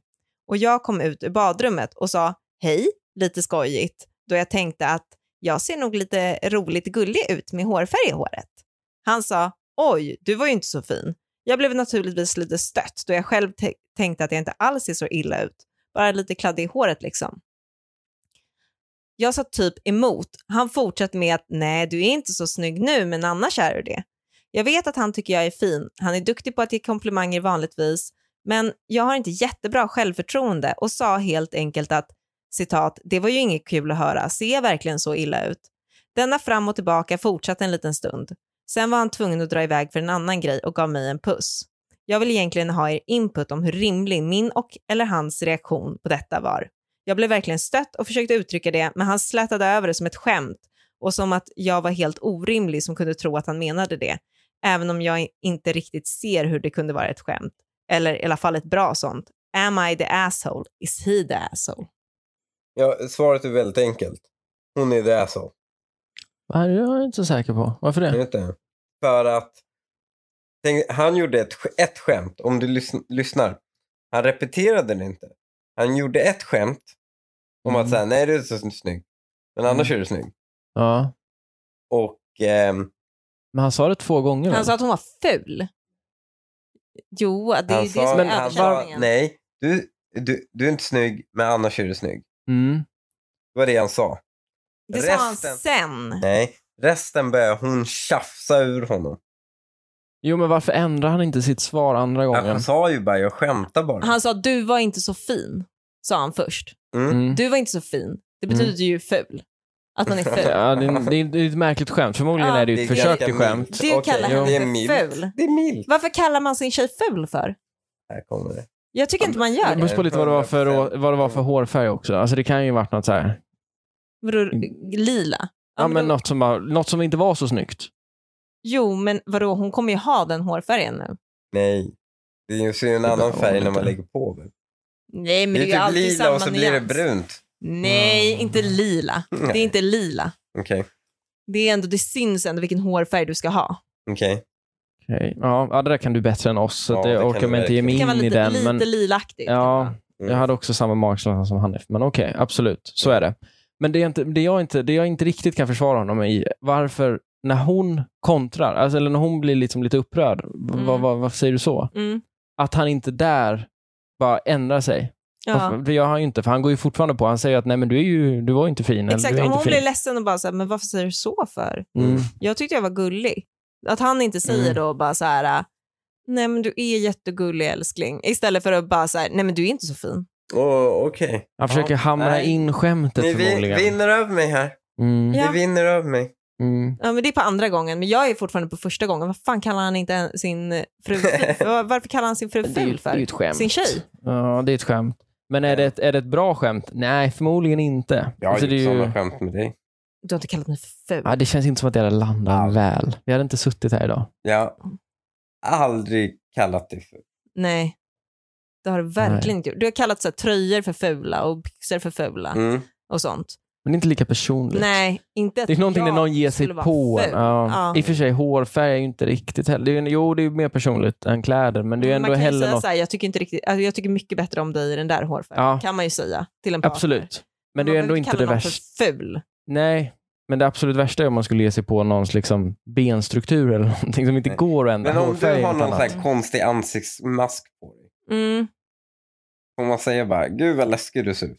Och jag kom ut ur badrummet och sa hej, lite skojigt, då jag tänkte att jag ser nog lite roligt gullig ut med hårfärg i håret. Han sa oj, du var ju inte så fin. Jag blev naturligtvis lite stött då jag själv te- tänkte att jag inte alls ser så illa ut, bara lite kladdig i håret liksom. Jag sa typ emot. Han fortsatte med att nej, du är inte så snygg nu, men annars är du det. Jag vet att han tycker jag är fin. Han är duktig på att ge komplimanger vanligtvis, men jag har inte jättebra självförtroende och sa helt enkelt att citat, det var ju inget kul att höra. Ser jag verkligen så illa ut? Denna fram och tillbaka fortsatte en liten stund. Sen var han tvungen att dra iväg för en annan grej och gav mig en puss. Jag vill egentligen ha er input om hur rimlig min och eller hans reaktion på detta var. Jag blev verkligen stött och försökte uttrycka det, men han slätade över det som ett skämt och som att jag var helt orimlig som kunde tro att han menade det, även om jag inte riktigt ser hur det kunde vara ett skämt, eller i alla fall ett bra sånt. Am I the asshole? Is he the asshole? Ja, svaret är väldigt enkelt. Hon är det så. Nej, Det är jag inte så säker på. Varför Jag det? vet inte. För att tänk, han gjorde ett, sk- ett skämt, om du lys, lyssnar. Han repeterade det inte. Han gjorde ett skämt om Mm. att säga nej du är inte så snygg. Men annars är du snygg. Ja. Och ehm, Men han sa det två gånger. Han väl? sa att hon var ful. Jo, det är han ju det som är sa, han sa översättningen. nej du, du, du är inte snygg men annars är du snygg. mm. Det var det han sa. Det sa han resten. sen. Nej, resten började hon tjafsa ur honom. Jo, men varför ändrar han inte sitt svar andra gången? Han sa ju bara jag skämtar bara. Han sa du var inte så fin, sa han först. Mm. Mm. Du var inte så fin. Det Mm. betyder ju ful. Att man är ful. Ja, det, är, det, är, det är ett märkligt skämt. Förmodligen Ja. är det ju ett Det är försök ganska till skämt. milt. Du Okej, kallar henne det är för milt. ful. Det är milt. Varför kallar man sin tjej ful för? Här kommer det. Jag tycker inte man gör Det det. beror på lite vad det var för, 100%. vad det var för hårfärg också. Alltså det kan ju varit något så här. Vadå, lila? Mm. Ja, men då- något, som var, något som inte var så snyggt. Jo, men vadå, hon kommer ju ha den hårfärgen nu. Nej. Det är ju så är det en Det annan beror färg när man lite. lägger på. Väl? Nej, men Det det är är ju typ alltid lila samma och så blir det nyans. brunt. Nej, Mm. inte lila. Det är Nej. inte lila. Okej. Det, är ändå, det syns ändå vilken hårfärg du ska ha. Okej. Okej. Ja, ja, det där kan du bättre än oss. Så Ja, att det jag kan orkar du mig inte ge verkligen. mig Det kan in vara i lite, den. lite Men, lilaktigt. typ, ja, Mm. jag hade också samma magkänsla som Hanif. Men okej, absolut. Så är det. Men det, är inte, det, jag inte, det jag inte riktigt kan försvara honom i, varför när hon kontrar, alltså, eller när hon blir liksom lite upprörd, v- Mm. vad, vad, vad säger du så? Mm. Att han inte där bara ändrar sig. Ja. Varför- Det gör han ju inte, för han går ju fortfarande på. Han säger att nej men du, är ju, du var ju inte fin. eller, Exakt, du är om inte hon fin. blir ledsen och bara så här, men varför säger du så för? Mm. Jag tyckte jag var gullig. Att han inte säger Mm. då bara så här, nej men du är jättegullig älskling. Istället för att bara så här, nej men du är inte så fin. Åh, Okej. Han försöker hamra nej. in skämtet Ni vi, förmodligen. vinner över mig här. Mm. Ja. Ni vinner över mig. Mm. Ja, men det är på andra gången, men jag är fortfarande på första gången. Vad fan kallar han inte en- sin fru ful för? Varför kallar han sin fru Det är ju ful det är ju för? ett skämt. Sin tjej? Ja, det är ett skämt. Men är det ett, är det ett bra skämt? Nej, förmodligen inte. Jag har Alltså, gjort det, är ju, sådana skämt med dig. Du har inte kallat mig för ful. ja, det känns inte som att det hade landat Ja. väl. Vi hade inte suttit här idag. Jag har aldrig kallat dig för. Nej, det har du verkligen inte gjort. Du har kallat så här, tröjor för fula och byxor för fula Mm. och sånt. Men det är inte lika personligt. Nej, inte att Det är någonting jag när någon ger sig skulle vara på en. ful. Ja. Ja. I och för sig, hårfärg är ju inte riktigt heller. Det är, ju- jo, det är ju mer personligt än kläder, men det är ju ändå Mm, man kan ju heller säga något. så här, jag tycker, inte riktigt, alltså, jag tycker mycket bättre om dig i den där hårfärgen. Ja. Kan man ju säga till en partner. Absolut. Men det är eh, man ju ändå behöver inte kalla det någon värsta. För ful. Nej, men det absolut värsta är om man skulle ge sig på någons liksom benstruktur eller någonting som inte Nej. går att ändra. Men om du Hårfärg är har något någon sån annat. här konstig ansiktsmask på dig. Mm. Får man säga bara, gud vad läskig du ser ut.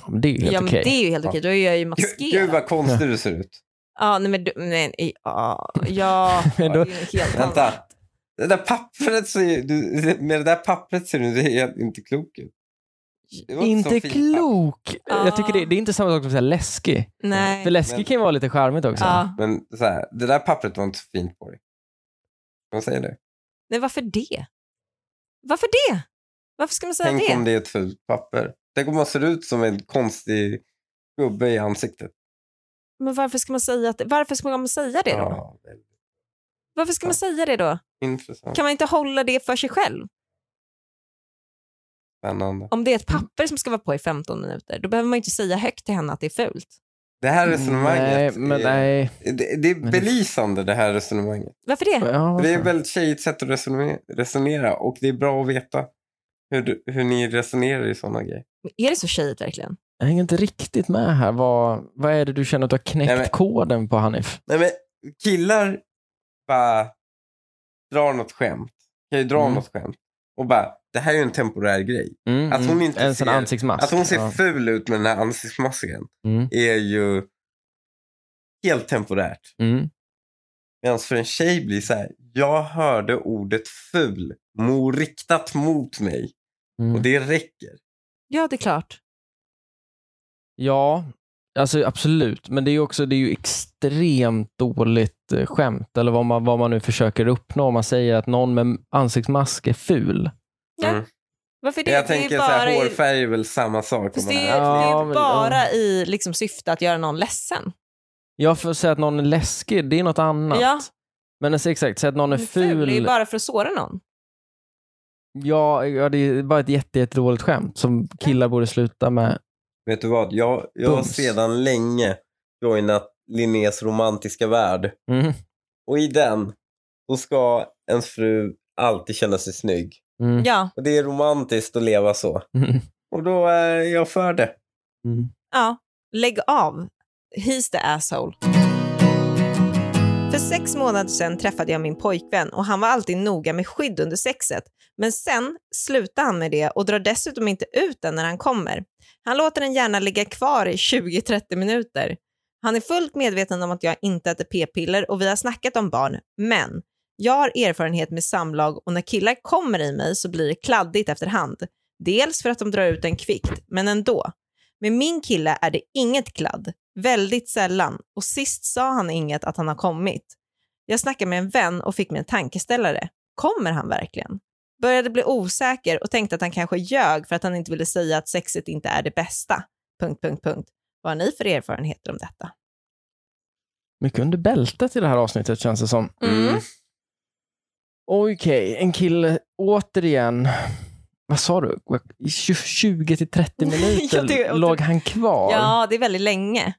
Ja, men det är ju helt Ja, men okej. det är ju helt Ja. okej. Då är jag ju Gud, maskerad. gud vad konstig du ser ut. Ja, nej men du, nej, nej, ja, ja, Men då- det är ju helt Vänta. annat. Det där pappret ser ju, du, med det där pappret ser du helt inte klok ut. Det var så Inte fint klok! Ja. Jag tycker det, det är inte samma sak som att säga läskig. Nej. För läskig Men- kan ju vara lite charmigt också. ja. papper. Men så här, det där pappret var inte så fint på dig. Vad säger du? nej, varför det? Varför det? Varför ska man säga Tänk det? om det är ett fult papper. Tänk om man ser ut som en konstig gubbe i ansiktet. Men varför ska man säga, att, varför ska man säga det då? Ja, Ah, det är Varför ska man Ja. säga det då? intressant. Kan man inte hålla det för sig själv? Spännande. Om det är ett papper som ska vara på i 15 minuter, då behöver man ju inte säga högt till henne att det är fult. Det här resonemanget. Mm, Nej, men är, nej. Det, det är Men- belysande det här resonemanget. Varför det? Ja, Det är varför? ett väldigt tjejigt sätt att resonera, resonera och det är bra att veta hur, du- hur ni resonerar i sådana grejer. Är det så tjejigt verkligen? Jag hänger inte riktigt med här. Vad, vad är det du känner att du har knäckt Nej, men- koden på Hanif? Nej men killar bara drar något skämt. Kan ju dra Mm. något skämt. Och bara, det här är ju en temporär grej. Mm, Att hon mm. inte en sån ser- ansiktsmask. Att Alltså, hon ser ja. ful ut med den här ansiktsmasken mm. är ju helt temporärt. Mm. Medan för en tjej blir så här, jag hörde ordet ful mo riktat mot mig Mm. och det räcker. Ja, det är klart. Ja, alltså absolut. Men det är ju också det är ju extremt dåligt eh, skämt, eller vad man, vad man nu försöker uppnå om man säger att någon med ansiktsmask är ful. Ja. Mm. Varför det? Men jag det tänker är så här, bara, i, hårfärg är väl samma sak. om fast man det har- är, det Ja, är men- bara i liksom, syfte att göra någon ledsen. Jag får säga att någon är läskig, det är något annat. Ja. Men alltså, exakt, säga att någon är ful. Det är bara för att såra någon. ja, ja, det är bara ett jätte, jätte dåligt skämt som killar borde sluta med. Vet du vad, jag, jag har Bums. sedan länge joinat Linnés romantiska värld. Mm. Och i den, då ska ens fru alltid känna sig snygg. Mm. Ja, Och det är romantiskt att leva så. Mm. Och då är jag för det. Mm. ja. Lägg av. He's the asshole. För sex månader sedan träffade jag min pojkvän och han var alltid noga med skydd under sexet. Men sen slutar han med det och drar dessutom inte ut den när han kommer. Han låter den gärna ligga kvar i 20-30 minuter. Han är fullt medveten om att jag inte äter p-piller och vi har snackat om barn, men jag har erfarenhet med samlag och när killar kommer i mig så blir det kladdigt efterhand. Dels för att de drar ut den kvickt, men ändå. Med min kille är det inget kladd, väldigt sällan och sist sa han inget att han har kommit. Jag snackade med en vän och fick mig en tankeställare. Kommer han verkligen? Började bli osäker och tänkte att han kanske ljög för att han inte ville säga att sexet inte är det bästa. Punkt, punkt, punkt. Vad har ni för erfarenheter om detta? Mycket under bältet i det här avsnittet känns det som. Mm. Okej, en kille återigen. Vad sa du? I 20 till 30 minuter Ja, det- typ låg han kvar. Ja, det är väldigt länge.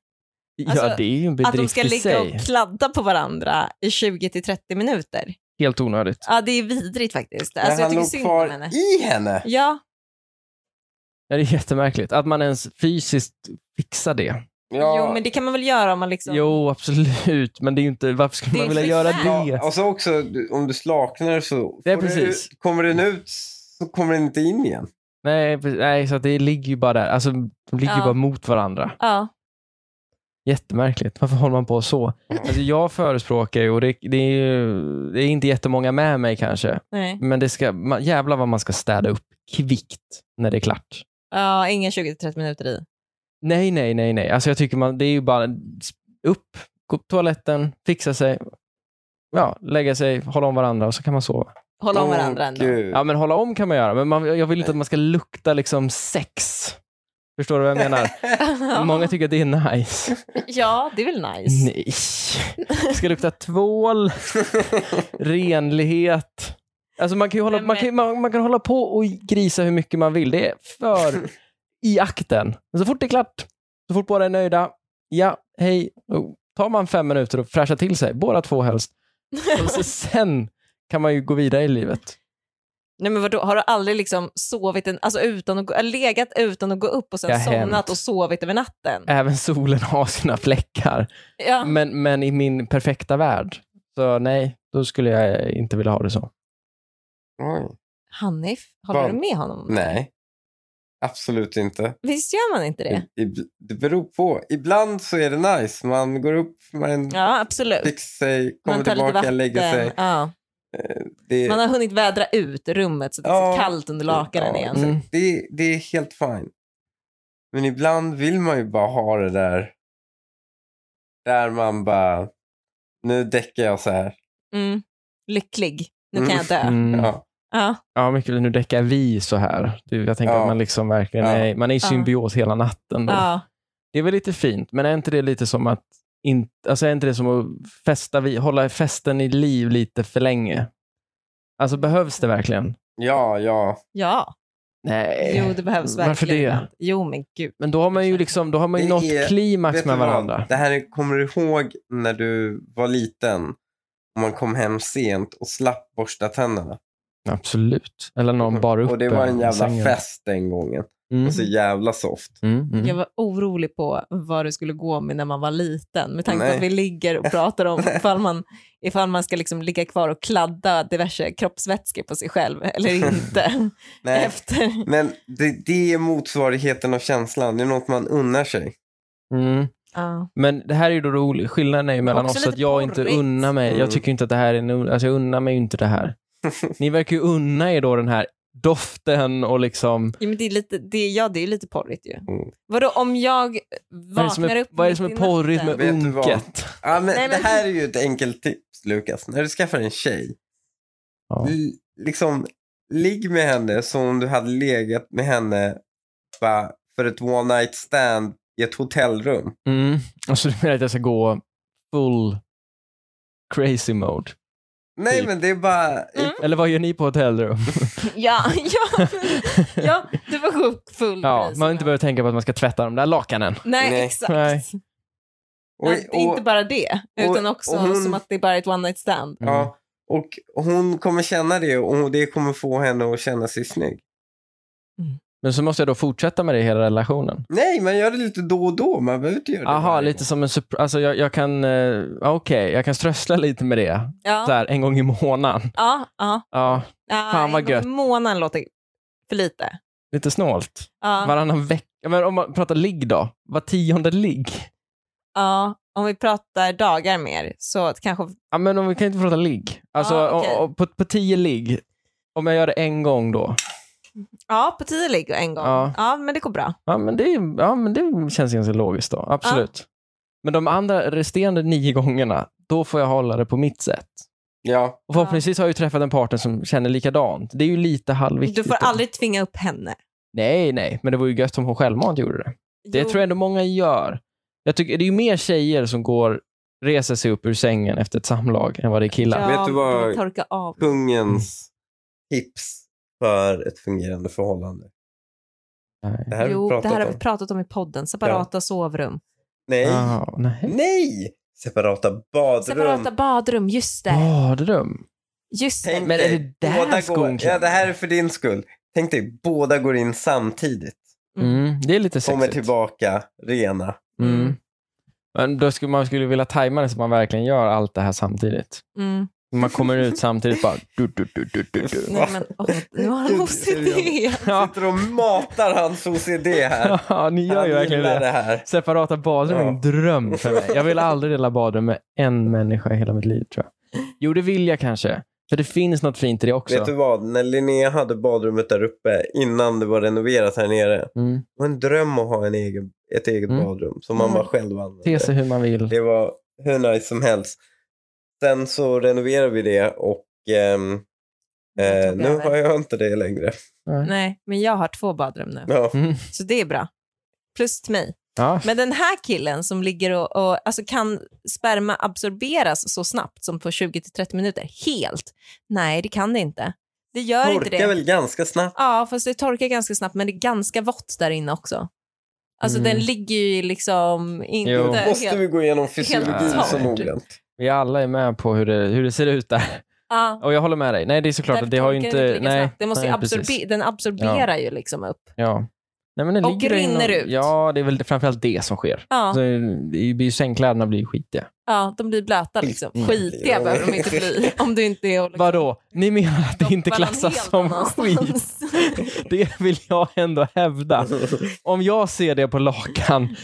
ja, alltså, det är ju en Att de bedrift ska i ligga sig. och kladda på varandra i 20 till 30 minuter. Helt onödigt. Ja, det är vidrigt faktiskt. Men Alltså, jag han tycker låg synd kvar om henne. i henne. Ja, Ja, det är jättemärkligt. Att man ens fysiskt fixar det. Ja. jo, men det kan man väl göra om man liksom... Jo, absolut. Men det är ju inte, varför skulle Det är man vilja för göra fan. det? Och så också, du- om du slaknar så Det är får du- precis. kommer den ut så kommer den inte in igen. Nej, precis. nej, så att det ligger ju bara där. Alltså, de ligger ju Ja. bara mot varandra. Ja. Jättemärkligt. Varför håller man på så? Alltså, jag förespråkar ju, och det, det, är ju, det är inte jättemånga med mig kanske, Nej. men det ska, man, jävlar vad man ska städa upp kvickt när det är klart. ja, inga 20-30 minuter i. Nej, nej, nej, nej. Alltså jag tycker man, det är ju bara upp, gå på toaletten, fixa sig, ja, lägga sig, hålla om varandra och så kan man sova. Hålla om Åh, varandra ändå. gud. Ja, men hålla om kan man göra, men man, jag vill inte att man ska lukta liksom sex. Förstår du vad jag menar? Många tycker att det är nice. ja, det är väl nice. Nej. Det ska lukta tvål, renlighet. Alltså man kan ju hålla, Nej, men- man kan, man, man kan hålla på och grisa hur mycket man vill. Det är för i akten. Men så fort det är klart, så fort båda är nöjda, ja, hej. Då tar man fem minuter och fräschar till sig, båda två helst. Och så sen kan man ju gå vidare i livet. Nej men vadå, har du aldrig liksom sovit en, alltså utan att gå, legat utan att gå upp och sen Det har somnat hänt. och sovit över natten? Även solen har sina fläckar. Ja. Mm. Men, men i min perfekta värld, så nej, då skulle jag inte vilja ha det så. Oj. Hanif, håller Vad? du med honom? Nej, absolut inte. Visst gör man inte det? I- ib- Det beror på. Ibland så är det nice. Man går upp, man Ja, absolut. fixar sig, kommer Man tar lite tillbaka, vatten. lägger sig. Eh, Ja. Det, Man har hunnit vädra ut rummet så det är Ja. så kallt under lakanen Ja, igen. exakt. Mm. det, det är helt fine. Men ibland vill man ju bara ha det där. Där man bara, nu däckar jag så här. Mm. Lycklig. Nu kan Mm. jag dö. Mm. Ja. Ja. Ja, mycket nu däckar vi så här. Det- Jag tänker Ja. att man liksom verkligen Ja. är, man är i Ja. symbios hela natten. Då. Ja. Det är väl lite fint, men är inte det lite som att in, alltså är inte det som att festa, vi, hålla festen i liv lite för länge? Alltså behövs det verkligen? Ja, ja. ja. Nej. Jo, det behövs verkligen. Varför det? Jo, men gud. Men då har man ju liksom, då har man ju Det nått är- klimax Vet med du vad? varandra. Det här är- kommer du ihåg när du var liten och man kom hem sent och slapp borsta tänderna. Absolut. Eller någon bar upp Mm. och det var en eh, jävla sängen. fest Alltså- den gången. Mm. Och så jävla soft. Mm, mm. Jag var orolig på vad du skulle gå med när man var liten. Med tanke på Nej. att vi ligger och pratar om ifall man, ifall man ska liksom ligga kvar och kladda diverse kroppsvätskor på sig själv eller inte. Nej, Efter. men det, det är motsvarigheten av känslan. Det är något man unnar sig. Mm. Ja. Men det här är ju då roligt. Skillnaden är ju mellan Också oss att lite jag inte porrigt. unnar mig. Mm. Jag tycker inte att det här är, en- alltså jag unnar mig ju inte det här. Ni verkar ju unna er då den här doften och liksom, Jo, men det är lite, det, ja, det är lite porrigt ju. Mm. Vadå, om jag vad är det som vaknar är, upp vad är, det mitt som är i porrigt natten? med Vet du vad? unket? Ja, men Nej, men- Det här är ju ett enkelt tips, Lukas. När du skaffar en tjej, Ja. l- liksom, ligg med henne som om du hade legat med henne bara för ett one night stand i ett hotellrum. Mm. Alltså du menar att jag ska gå full crazy mode? Nej, Typ. men det är bara... Mm. Eller vad gör ni på hotellrum? Ja, ja, ja, du var sjuk full. ja, pris. man inte behöver tänka på att man ska tvätta de där lakanen. Nej, Nej. exakt. Nej. Och, Att det är inte och- bara det, utan och- också och hon- som att det är bara är ett one night stand. Mm. Ja, och hon kommer känna det och det kommer få henne att känna sig snygg. Men så måste jag då fortsätta med det i hela relationen? Nej, man gör det lite då och då. Man behöver inte göra det. Aha, varje lite gång. som en surprise. Alltså jag, jag kan, eh, okej, jag kan strössla lite med det. Så Ja, här, en gång i månaden. ja, ja. Ja, ja Fan, vad en gång i gött. Månaden låter för lite. lite snålt. Ja, Varannan vecka. Men om man pratar ligg då? Var tionde ligg? ja. Om vi pratar dagar mer så att kanske... Ja, men om vi kan inte prata ligg. Alltså Ja, okej. o- o- på, på tio ligg, om jag gör det en gång då. Ja, på tio ligger en gång. Ja. Ja. men det går bra. Ja, men det, är- ja, men det känns ganska logiskt då. Absolut. Men de andra resterande nio gångerna, då får jag hålla det på mitt sätt. Ja, Och förhoppningsvis har jag ju träffat en partner som känner likadant. Det är ju lite halvviktigt. Du får då. aldrig tvinga upp henne. Nej, nej, men det vore ju gött om hon självmant gjorde det. Det tror jag ändå många gör. Jag tycker, det är ju mer tjejer som går, reser sig upp ur sängen efter ett samlag än vad det är killar. Ja, Vet du vad- men Torka av. kungens Mm. tips för ett fungerande förhållande. Nej. Det här har vi jo, det pratat här har om. vi pratat om i podden. Separata sovrum. Nej, Ah, nej. nej! Separata badrum. Separata badrum, just det. Badrum. Just det. Tänk Men är dig, det där båda skon går, Ja, det här är för din skull. Tänk dig, båda går in samtidigt. Mm, det är lite sexigt. Kommer tillbaka rena. Mm. Men då skulle man skulle vilja tajma det så man verkligen gör allt det här samtidigt. Mm. Man kommer ut samtidigt bara... Du, du, du, du, du, du. Nej, men åh, nu har han Gud, OCD. Ja. Sitter och matar hans OCD här. Ja, ni gör Han ju verkligen gillar det. det här. Separata badrum är en dröm för mig. Jag vill aldrig dela badrum med en människa i hela mitt liv, tror jag. Jo, det vill jag kanske. För det finns något fint i det också. Vet du vad? När Linnea hade badrummet där uppe innan det var renoverat här nere. Det Mm. var en dröm att ha en egen, ett eget Mm. badrum som man Mm. bara själv Te sig använde. hur man vill. Det var hur nice som helst. Sen så renoverade vi det och ehm, eh, tog nu över. har jag inte det längre. Nej, men jag har två badrum nu. Ja. Mm. Så det är bra. Plus till mig. Ja. Men den här killen som ligger och, och alltså kan sperma absorberas så snabbt som på 20-30 minuter helt? Nej, det kan det inte. Det gör inte det. Torkar väl ganska snabbt. Ja, fast det torkar ganska snabbt, men det är ganska vått där inne också. Alltså Mm. den ligger ju liksom inte Jo. helt... Måste vi gå igenom fysiologin torrt. så noggrant? Vi alla är med på hur det, hur det ser ut där. Ja, Och jag håller med dig. Nej, det är såklart därför att det har ju torkar den inte... lika Nej, snabbt. den, måste ju nej, precis. absorbe- den absorberar ju liksom upp. Ja. Nej, men den Och ligger där inne rinner ut. Ja, det är väl framförallt det som sker. Ja, Liksom. Så det blir ju sängkläderna blir ju skitiga. ja, de blir blöta liksom. Mm. Skitiga behöver de inte bli om du inte är och liksom Vadå? Ni menar att det inte doppar dem klassas helt som skit? annanstans. Det vill jag ändå hävda. Om jag ser det på lakan,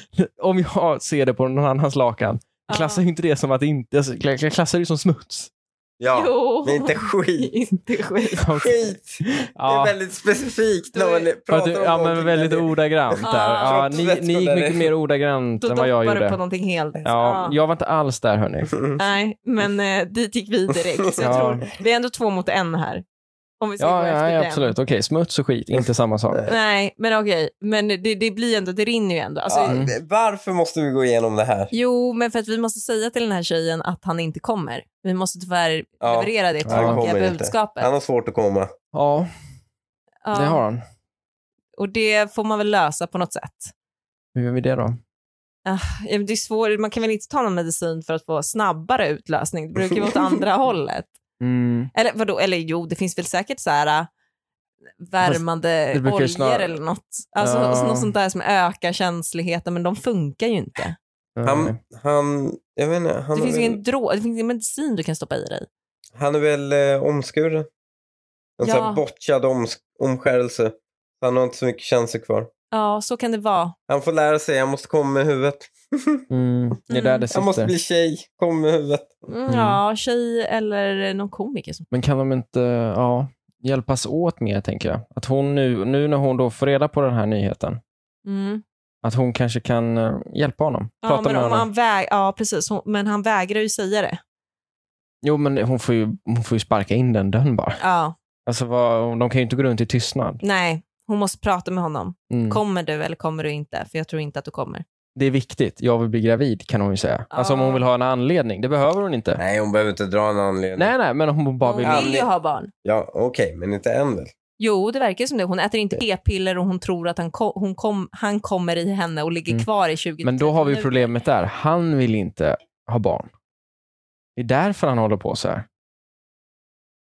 om jag ser det på någon annans lakan, Ja. klassar ju inte det som att det inte... alltså, Jag klassar det ju som smuts. Ja, Jo. men inte skit. inte skit. Skit! Ja, Det är väldigt specifikt när man för att pratar du, om ja men någonting väldigt där det- ordagrant Ja. där. Ja, ni, ni gick mycket mer ordagrant Då än vad jag doppar du på gjorde. någonting helt. Ja, jag var inte alls där hörni. Mm. Nej, men eh, dit gick vi direkt. Så jag Ja. tror, vi är ändå två mot en här. Om vi ska gå Ja, efter ja, ja den. absolut. Okej, smuts och skit, inte samma sak. Nej. Nej, men okej. Men det, det blir ändå, det rinner ju ändå. Alltså, Ja, Mm. det- Varför måste vi gå igenom det här? Jo, men för att vi måste säga till den här tjejen att han inte kommer. Vi måste tyvärr Ja, leverera det han tråkiga kommer inte. budskapet. Han har svårt att komma. Ja, Ja, det har han. Och det får man väl lösa på något sätt. Hur gör vi det då? Ja, men Det är svårt, man kan väl inte ta någon medicin för att få snabbare utlösning? Det brukar ju vara åt andra hållet. Mm. Eller vadå, eller jo, det finns väl säkert så här äh, värmande det brukar ju oljor snar- eller något. Alltså Ja. något sånt där som ökar känsligheten, men de funkar ju inte. Eh, Han, han, jag vet inte, han, Det är, finns ju väl, ingen drå, det finns ingen medicin du kan stoppa i dig. han är väl eh, omskuren. En sån Ja. här botchad oms, omskärelse. Han har inte så mycket chanser kvar. Ja, så kan det vara. Han får lära sig, jag måste komma med huvudet. Mm. Det är där det Jag måste sitter. bli tjej, kom med huvudet. Mm, Mm. Ja, tjej eller någon komiker. Som... Men kan de inte ja, hjälpas åt mer, tänker jag? Att hon nu, nu när hon då får reda på den här nyheten, Mm. att att hon kanske kan eh, hjälpa honom. Ja, prata men, med om honom. han väg... ja, precis. Hon- Men han vägrar ju säga det. Jo, men hon får, ju, hon får ju sparka in den dörren bara. Ja, Alltså, vad, de kan ju inte gå runt i tystnad. nej. Hon måste prata med honom. Mm. Kommer du eller kommer du inte? För jag tror inte att du kommer. Det är viktigt. Jag vill bli gravid, kan hon ju säga. Alltså om Ja. hon vill ha en anledning. Det behöver hon inte. Nej, Nej, hon behöver inte dra en anledning. nej, men om hon bara Hon vill... vill ju Ja. ha barn. Ja, okej, men inte än väl? Jo, det verkar som det. Hon äter inte p-piller och hon tror att han, ko- hon kom- han kommer i henne och ligger Mm. kvar i 20 Men då har vi minuter. problemet där. Han vill inte ha barn. Det är därför han håller på så här.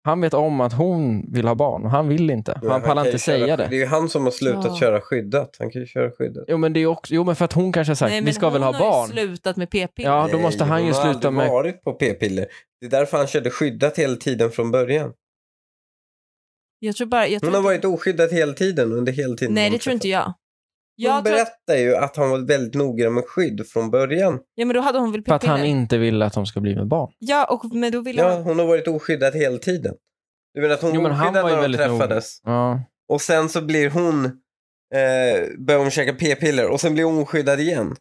Han vet om att hon vill ha barn och han vill inte. Han kan pallar ju inte säga köra, Det det. är ju han som har slutat Ja. köra skyddat. Han kan ju köra skyddat. Jo men, det är också, jo, men för att hon kanske har sagt, Nej, men vi ska väl ha Hon har ju barn. slutat med p-piller. Ja, då Nej, måste han ju hon har sluta aldrig med... varit på p-piller. Det är därför han körde skyddat hela tiden från början. Jag tror bara... Jag tror Hon har inte- varit oskyddat hela tiden under hela tiden. Nej, de det tror inte jag. träffades. jag Hon tror att, berättar ju att han var väldigt noggrann med skydd från början. ja, men då hade hon väl För att han p-piller? inte vill att de ska bli med barn. Ja, och, men då ville Ja, hon... hon har varit oskyddat hela tiden. Du menar att hon Jo, var men han oskyddad var ju när de väldigt noggrann. träffades? Ja. Och sen så blir hon... Eh, börjar hon käka p-piller och sen blir hon oskyddad igen.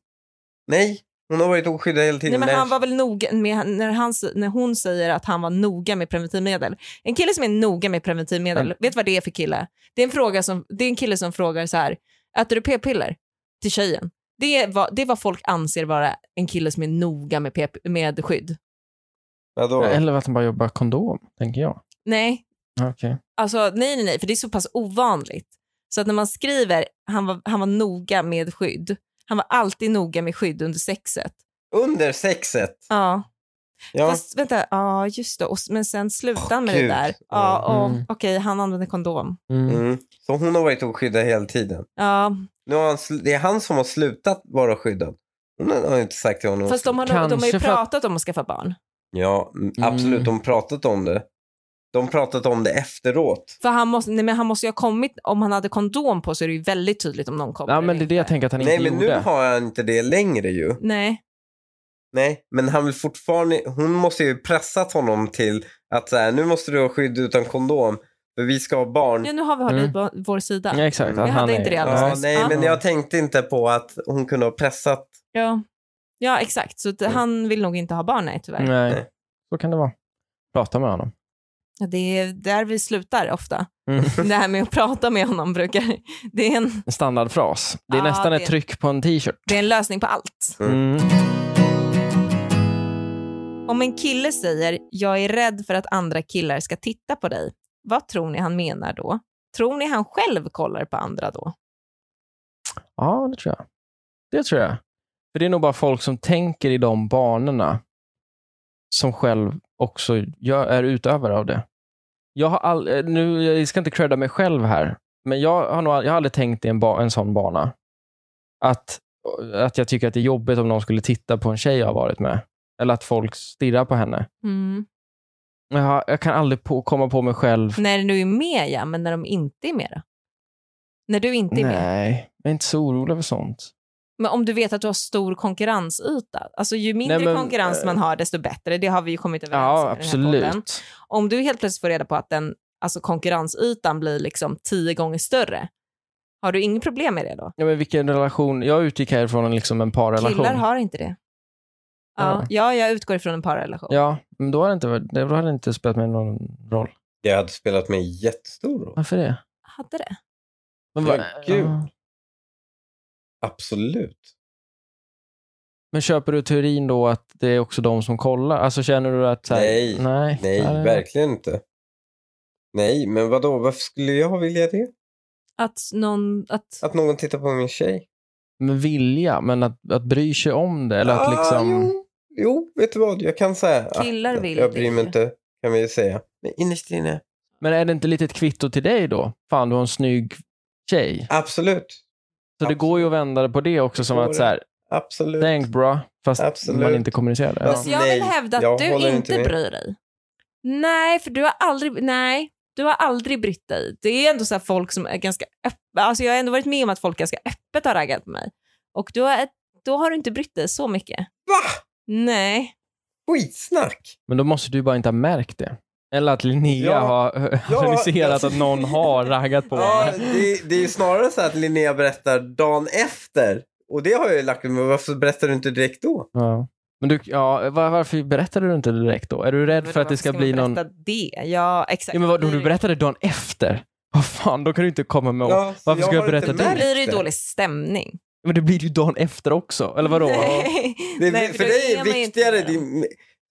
Nej, hon har varit oskyddad hela Nej, tiden. men han var väl noga med, när, han, när hon säger att han var noga med preventivmedel. En kille som är noga med preventivmedel, Men- vet du vad det är för kille? Det är en, fråga som, det är en kille som frågar så här, äter du p-piller? Till tjejen. Det är, vad, det är vad folk anser vara en kille som är noga med, p- med skydd. Vadå? Eller att han bara jobbar kondom, tänker jag. Nej, Okej. alltså nej, nej, nej, för det är så pass ovanligt. Så att när man skriver, han var, han var noga med skydd. Han var alltid noga med skydd under sexet. Under sexet? Ja. Ja. Fast vänta, ja just det. Och, s- men sen slutade han med det Gud. där. Ja, Ja. och Mm. Okej, han använde kondom. Mm. Mm. Så hon har varit oskyddad hela tiden. Ja, Nu har han, sl- det är han som har slutat vara skyddad. Hon har har inte sagt till honom. fast de har, de har Kanske ju för att- pratat om att skaffa barn. Ja, m- absolut. Mm. De har pratat om det. De har pratat om det efteråt. För han måste, nej, men han måste ju ha kommit, om han hade kondom på så är det ju väldigt tydligt om någon kommer. Ja, eller men det är det jag inte. tänker att han inte Nej, men gjorde. nu har han inte det längre ju. Nej, Nej, men han vill fortfarande... Hon måste ju pressat honom till att så här, nu måste du ha skydd utan kondom. För vi ska ha barn. ja, nu har vi hållit Mm. på vår sida. Ja, exakt. Jag att hade inte han är... det alldeles Ja, nyss. nej, Ja. men jag tänkte inte på att hon kunde ha pressat. Ja, ja exakt. Så att Mm. han vill nog inte ha barn, nej tyvärr. Nej, Nej. så kan det vara. Prata med honom. Ja, Det är där vi slutar ofta. Mm. Det här med att prata med honom brukar, det är en, En standardfras. Det är Ja, nästan det- ett tryck på en t-shirt. det är en lösning på allt. Mm. Om en kille säger “jag är rädd för att andra killar ska titta på dig”, vad tror ni han menar då? Tror ni han själv kollar på andra då? Ja, det tror jag. Det tror jag. För det är nog bara folk som tänker i de banorna som själv också gör, är utövare av det. Jag, har all, eh, nu, jag ska inte credda mig själv här, men jag har, nog, all- jag har aldrig tänkt i en, ba, en sån bana. Att, att jag tycker att det är jobbigt om någon skulle titta på en tjej jag har varit med. Eller att folk stirrar på henne. Mm. Men Jag, har, jag kan aldrig på, komma på mig själv. När du är med ja, men när de inte är med då? När du inte är med? Nej, jag är inte så orolig för sånt. Men om du vet att du har stor konkurrensyta, alltså ju mindre Nej, men, konkurrens eh, man man har desto bättre, det har vi ju kommit överens om Ja, i den här podden. absolut. Om du helt plötsligt får reda på att den, alltså konkurrensytan blir liksom tio gånger större, har du inget problem med det då? Ja, men vilken relation? Jag utgick härifrån en, liksom en parrelation. Killar har inte det. Ja, ja. jag utgår ifrån en parrelation. Ja, men då hade det inte, varit- då hade det inte spelat mig någon roll. Det hade spelat mig jättestor roll. Varför det? Hade det? Men, Men vad- gud. Ja. Absolut. men köper du teorin då att det är också de som kollar? Alltså känner du att... Så här, Nej. nej. Nej, det- verkligen inte. Nej, men vadå? Varför skulle jag vilja det? Att någon... Att, Att någon tittar på min tjej? Men vilja, men att, att bry sig om det. Eller Ah, att liksom... Ah, jo, jo, vet du vad? Jag kan säga att Killar vill jag bryr mig det. inte, kan vi ju säga. Men innerst inne, Men är det inte lite ett kvitto till dig då? Fan, du har en snygg tjej. absolut. Så det Absolut. går ju att vända det på det också som går att så här, Absolut. thanks bra, fast Absolut. man inte kommunicerar det. Ja. Fast jag vill Nej, hävda att jag du håller inte, inte med. bryr dig. Nej, för du har aldrig... Nej. Du har aldrig brytt dig. Det är ändå så här folk som är ganska öppna. Alltså jag har ändå varit med om att folk ganska öppet har raggat på mig. Och då, är, då har du inte brytt dig så mycket. Va? Nej. Skitsnack! Men då måste du bara inte ha märkt det. Eller att Linnea Ja. har Ja. alltså- analyserat att någon har raggat på Ja, henne. det, det är ju snarare så att Linnea berättar dagen efter. Och det har jag ju lagt mig men varför berättar du inte direkt då? Ja. Men du, ja, var, varför berättade du inte direkt då? Är du rädd för att det ska bli någon... berätta det? Ja, exakt. Ja, men vad, om du Blir- berättade dagen efter, vad fan, då kan du inte komma med Ja, så Varför ska jag har inte berätta det? Då märkt blir det ju dålig stämning. Men det blir ju dagen efter också, eller vadå? Nej. Det är, Nej, för då dig är man ju inte viktigare, med dem. din,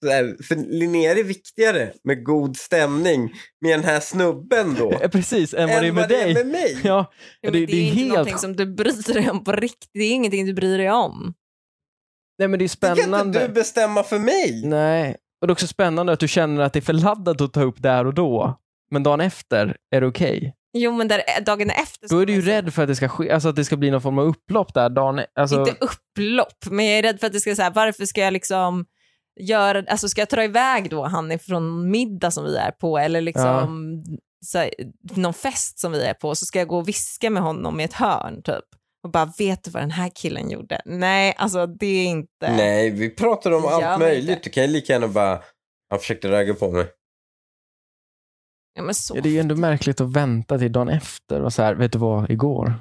så här, för Linnea är det viktigare med god stämning med den här snubben då. Ja, Precis, än vad det är med dig. med mig. Ja, Ja, men det, det, det är ju inte helt... någonting som du bryr dig om på riktigt. Det är ingenting du bryr dig om. Nej, men det är Det kan spännande. inte du bestämma för mig. Nej, och det är också spännande att du känner att det är för laddat att ta upp där och då. Men dagen efter är det okej. Jo, men där, eh, dagen efter... Då är du ju skulle jag rädd för att det ska ske, alltså att det ska bli någon form av upplopp där dagen alltså, Inte upplopp, men jag är rädd för att det ska säga varför ska jag liksom göra, alltså ska jag dra iväg då han från middag som vi är på eller liksom så här, någon fest som vi är på så ska jag gå och viska med honom i ett hörn typ och bara vet du vad den här killen gjorde? Nej, alltså det är inte. Nej, vi pratar om Det gör allt man möjligt. inte. Du kan ju lika gärna bara, han försökte ragga på mig. Ja, men så. Ja, det är ju ändå märkligt att vänta till dagen efter och så här, vet du vad, igår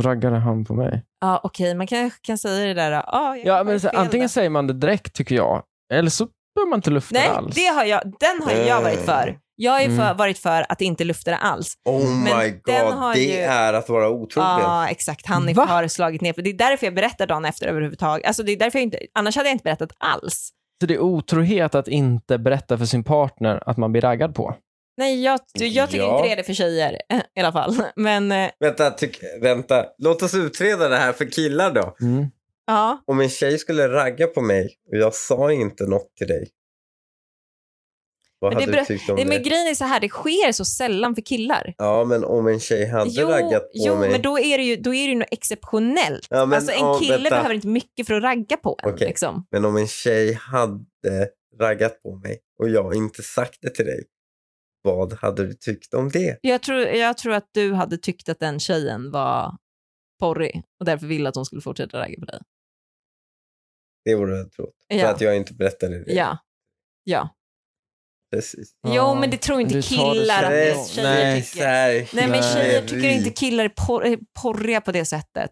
raggade han på mig. Ja, okej, man kanske kan säga det där. då. Ah, jag Ja, kan men vara så här, fel antingen där. säger man det direkt tycker jag, eller så behöver man inte lufta Nej, det alls. det har jag, den har Eh. jag varit för. Jag har ju Mm. för, varit för att inte lufta det alls. Oh Men my den har god, det ju- är att vara Ja, otrogen. exakt. Hanif Va? har slagit ner. Det är därför jag berättar dagen efter överhuvudtaget. Alltså, det är därför jag inte, annars hade jag inte berättat alls. Så det är otrohet att inte berätta för sin partner att man blir raggad på. Nej, jag, du, jag tycker Ja. inte det är det för tjejer i alla fall. Men eh, Vänta, tyck, vänta. Låt oss utreda det här för killar då. Mm. ja, Om en tjej skulle ragga på mig och jag sa inte något till dig. Vad Men det hade beror- du tyckt om Nej, det? men grejen är så här, det sker så sällan för killar. Ja, men om en tjej hade Jo, raggat på jo mig. men då är det ju, då är det ju något exceptionellt. Ja, men, alltså en ja, kille vänta. behöver inte mycket för att ragga på en. Okej. Liksom. Men om en tjej hade raggat på mig och jag inte sagt det till dig. Vad hade du tyckt om det? Jag, tror, jag tror att du hade tyckt att den tjejen var porrig och därför ville att hon skulle fortsätta ragga på dig. Det vore jag trott. Ja, För att jag inte berättade det. ja. ja. Precis. Ja, Jo, men det tror inte du tar det killar så- att det Precis. tjejer Nej, tycker. Nej, men Nej. tjejer tycker inte killar är por- är porriga på det sättet.